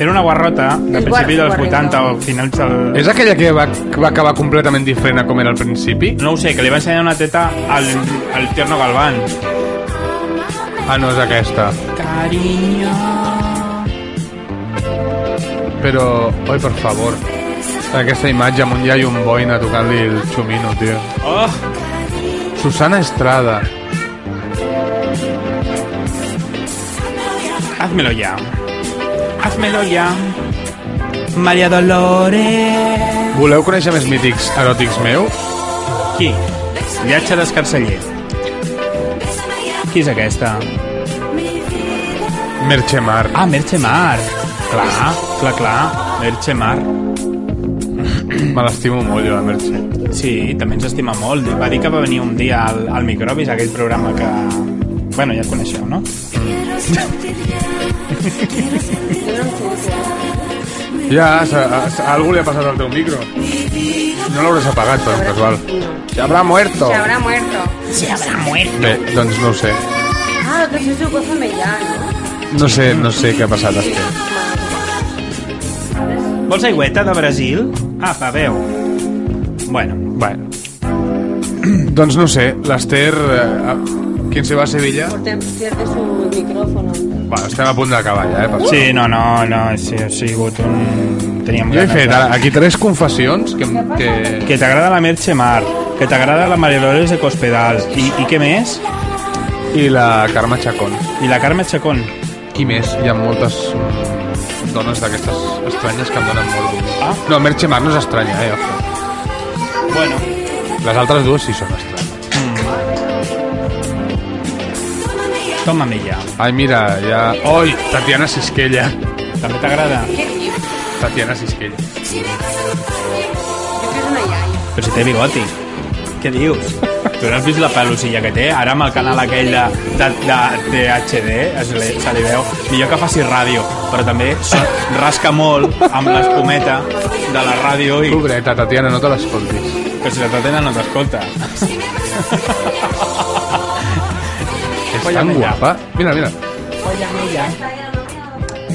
[SPEAKER 3] Era una guarrota de
[SPEAKER 2] El
[SPEAKER 3] principi
[SPEAKER 2] guar-
[SPEAKER 3] dels
[SPEAKER 2] guarreta.
[SPEAKER 3] 80 o finals del...
[SPEAKER 1] És aquella que va, va acabar completament diferent a com era al principi?
[SPEAKER 3] No ho sé, que li va ensenyar una teta al, al Tierno Galván.
[SPEAKER 1] Ah, no, és aquesta. Però, oi, per favor. Aquesta imatge amb un iaio amb boina tocant-li el xumino, tio.
[SPEAKER 3] Oh,
[SPEAKER 1] Susana Estrada.
[SPEAKER 3] házmelo ya. Házmelo ya. María Dolores.
[SPEAKER 1] Voleu conèixer més mítics eròtics meus?
[SPEAKER 3] Qui? Viatge d'escarceller. Qui és aquesta?
[SPEAKER 1] Merche Mar.
[SPEAKER 3] Ah, Merche Mar. Clar, clar, clar. Merche Mar.
[SPEAKER 1] Me l'estimo molt, jo, la Merche.
[SPEAKER 3] Sí, també ens estima molt. Va dir que va venir un dia al, al Microbis, aquell programa que... Bueno, ja el coneixeu, no?
[SPEAKER 1] Ja, s- a, a, a algú li ha passat al teu micro. No l'hauràs apagat, per un casual. Se habrá muerto.
[SPEAKER 2] Se habrá muerto.
[SPEAKER 1] Bé, doncs no ho sé.
[SPEAKER 2] Ah, que això és el que fem allà, no?
[SPEAKER 1] No sé, no sé què ha passat, Esther.
[SPEAKER 3] Vols aigüeta de Brasil? Apa, veu. Bueno.
[SPEAKER 1] Bueno. *clears throat* doncs no sé, l'Ester... Eh, quien se va a Sevilla?
[SPEAKER 2] Portem, cierta su micrófono.
[SPEAKER 1] Bueno, estem a punt d'acabar ja, eh? per això.
[SPEAKER 3] Sí, no, no, no, sí, ha sigut un... Teníem
[SPEAKER 1] Jo he
[SPEAKER 3] ganes
[SPEAKER 1] fet
[SPEAKER 3] de-
[SPEAKER 1] ara, aquí tres confessions que... em- que...
[SPEAKER 3] Que t'agrada la Merche Mar, que t'agrada la Maria Dolores de Cospedal, i, i què més?
[SPEAKER 1] I la Carme Chacón.
[SPEAKER 3] I la Carme Chacón.
[SPEAKER 1] Qui més? Hi ha moltes mm, dones d'aquestes estranyes que em donen molt d'humor. Ah? No, Merche Mar no és estranya, eh? ojo.
[SPEAKER 3] Bueno.
[SPEAKER 1] Les altres dues sí són estranyes.
[SPEAKER 3] Toma-me ja.
[SPEAKER 1] Ai, mira, ja... Oi, Tatiana Sisquella.
[SPEAKER 3] També t'agrada?
[SPEAKER 1] Tatiana Sisquella.
[SPEAKER 3] Però si té bigoti. Què dius? Tu no has vist la pelucilla que té? Ara amb el canal aquell de, de, de, de HD es li, se li veu. Millor que faci ràdio, però també so- rasca molt amb l'espumeta de la ràdio i
[SPEAKER 1] Pobreta, Tatiana, no te l'escoltis.
[SPEAKER 3] que si la tatena no t'escolta.
[SPEAKER 1] És
[SPEAKER 3] Oye,
[SPEAKER 1] tan
[SPEAKER 3] mira.
[SPEAKER 1] guapa. Mira, *laughs* mira.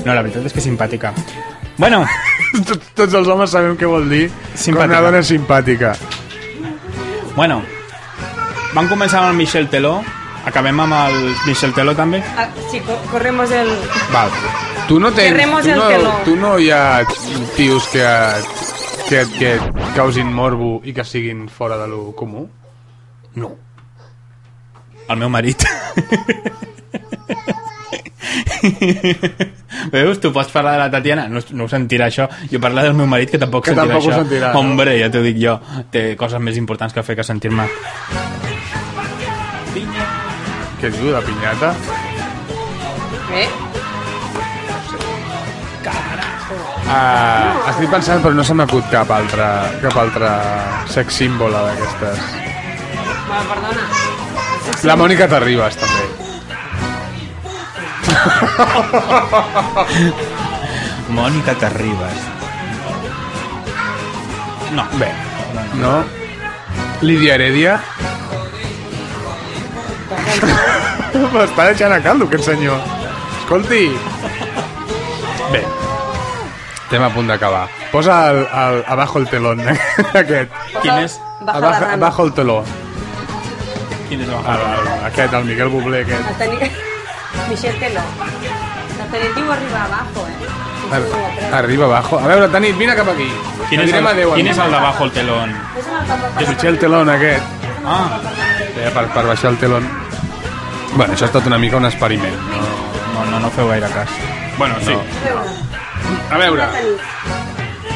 [SPEAKER 3] No, la veritat és que és simpàtica. Bueno,
[SPEAKER 1] Tots, tots els homes sabem què vol dir
[SPEAKER 3] Simpàtica.
[SPEAKER 1] quan una dona és simpàtica.
[SPEAKER 3] bueno. Van començar amb el Michel Teló, acabem amb el Michel Teló també.
[SPEAKER 2] Ah, sí, co- corremos el...
[SPEAKER 1] Val. Tu no tens...
[SPEAKER 2] Cerremos
[SPEAKER 1] Tu
[SPEAKER 2] el
[SPEAKER 1] no,
[SPEAKER 2] teló.
[SPEAKER 1] tu no hi ha tios que, que, que et causin morbo i que siguin fora de lo comú? No.
[SPEAKER 3] El meu marit. Veus? Tu pots parlar de la Tatiana? No, no ho sentirà, això. Jo parlo del meu marit, que tampoc
[SPEAKER 1] Que
[SPEAKER 3] sentirà
[SPEAKER 1] tampoc ho
[SPEAKER 3] això.
[SPEAKER 1] sentirà, no?
[SPEAKER 3] Hombre, ja t'ho dic jo. Té coses més importants que fer que sentir-me.
[SPEAKER 1] Què diu, de pinyata?
[SPEAKER 2] Eh?
[SPEAKER 1] Uh, estic pensant, però no se m'acut cap altre, cap altre sex símbol d'aquestes.
[SPEAKER 2] Va, perdona.
[SPEAKER 1] La Mònica Terribas, també.
[SPEAKER 3] Mònica Terribas. No.
[SPEAKER 1] Bé, no? Lídia Heredia? *laughs* M'està deixant a caldo, aquest senyor. Escolti,
[SPEAKER 3] Bé.
[SPEAKER 1] Estem a punt d'acabar. Posa el, el, abajo el telón, *laughs* eh, aquest.
[SPEAKER 3] Quin és?
[SPEAKER 2] Baja la
[SPEAKER 1] Abajo,
[SPEAKER 2] rana.
[SPEAKER 1] abajo el teló.
[SPEAKER 3] Quin és?
[SPEAKER 1] El, el, aquest, el Miguel Bublé, aquest.
[SPEAKER 2] El *laughs* teni... Michel Teló. El tenitiu arriba abajo, eh?
[SPEAKER 1] Ar arriba abajo. A veure, Tanit, vine cap aquí.
[SPEAKER 3] Quin és,
[SPEAKER 1] Direm
[SPEAKER 3] el,
[SPEAKER 1] adéu al
[SPEAKER 3] quin és
[SPEAKER 1] món.
[SPEAKER 3] el de bajo el telón?
[SPEAKER 1] Potser el telón, aquest.
[SPEAKER 3] Ah,
[SPEAKER 1] Eh, per, per baixar el telón. Bueno, això ha estat una mica un experiment.
[SPEAKER 3] no, no, no feu gaire cas. Bueno, sí. No.
[SPEAKER 1] A veure.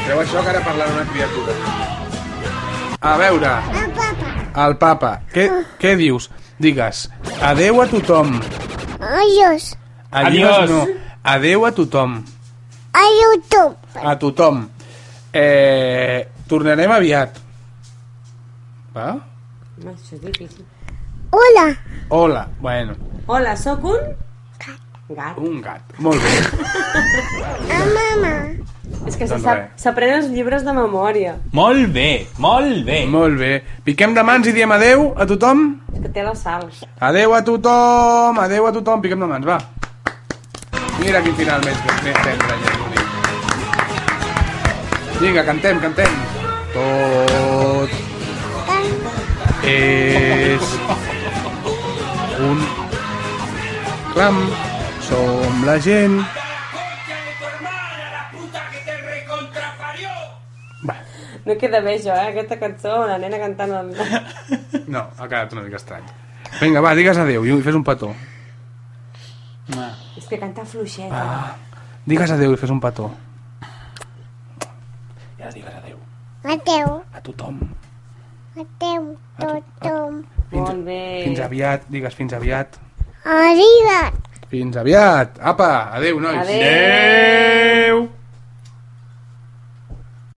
[SPEAKER 1] Treu això que ara parlarà una criatura. A veure.
[SPEAKER 5] Ah,
[SPEAKER 1] El papa. Què, què dius? Digues, adeu a tothom.
[SPEAKER 5] Adiós.
[SPEAKER 1] Adiós.
[SPEAKER 3] Adiós.
[SPEAKER 1] No. Adeu a tothom.
[SPEAKER 5] A YouTube.
[SPEAKER 1] a tothom. Eh, tornarem aviat. Va?
[SPEAKER 2] No, això és difícil.
[SPEAKER 5] Hola.
[SPEAKER 1] Hola, bueno,
[SPEAKER 2] Hola, sóc un... Gat.
[SPEAKER 1] un gat. Molt bé.
[SPEAKER 5] A Ah, mamá.
[SPEAKER 2] És que se
[SPEAKER 1] Doncs
[SPEAKER 2] sap-
[SPEAKER 1] res.
[SPEAKER 2] s'aprèn els llibres de memòria.
[SPEAKER 3] Molt bé, molt bé.
[SPEAKER 1] Molt bé. Piquem de mans i diem adeu a tothom?
[SPEAKER 2] És que té la sal.
[SPEAKER 1] Adeu a tothom, adeu a tothom. Piquem de mans, va. Mira quin final més, més tendre, ja t'ho dic. Vinga, cantem, cantem. Tot és un clam. Som la gent.
[SPEAKER 2] No queda bé això, eh? Aquesta cançó, la nena cantant el...
[SPEAKER 1] No, ha quedat una mica estrany. Vinga, va, digues adeu i fes un petó.
[SPEAKER 2] *laughs* És que canta fluixeta.
[SPEAKER 1] Ah, Digues adeu i fes un petó.
[SPEAKER 5] Mateo.
[SPEAKER 1] A tothom.
[SPEAKER 5] Mateo. Totom.
[SPEAKER 2] Molt bé.
[SPEAKER 1] Fins aviat, digues fins aviat.
[SPEAKER 5] Arriba.
[SPEAKER 1] Fins aviat. Apa, adeu, nois.
[SPEAKER 2] Adéu.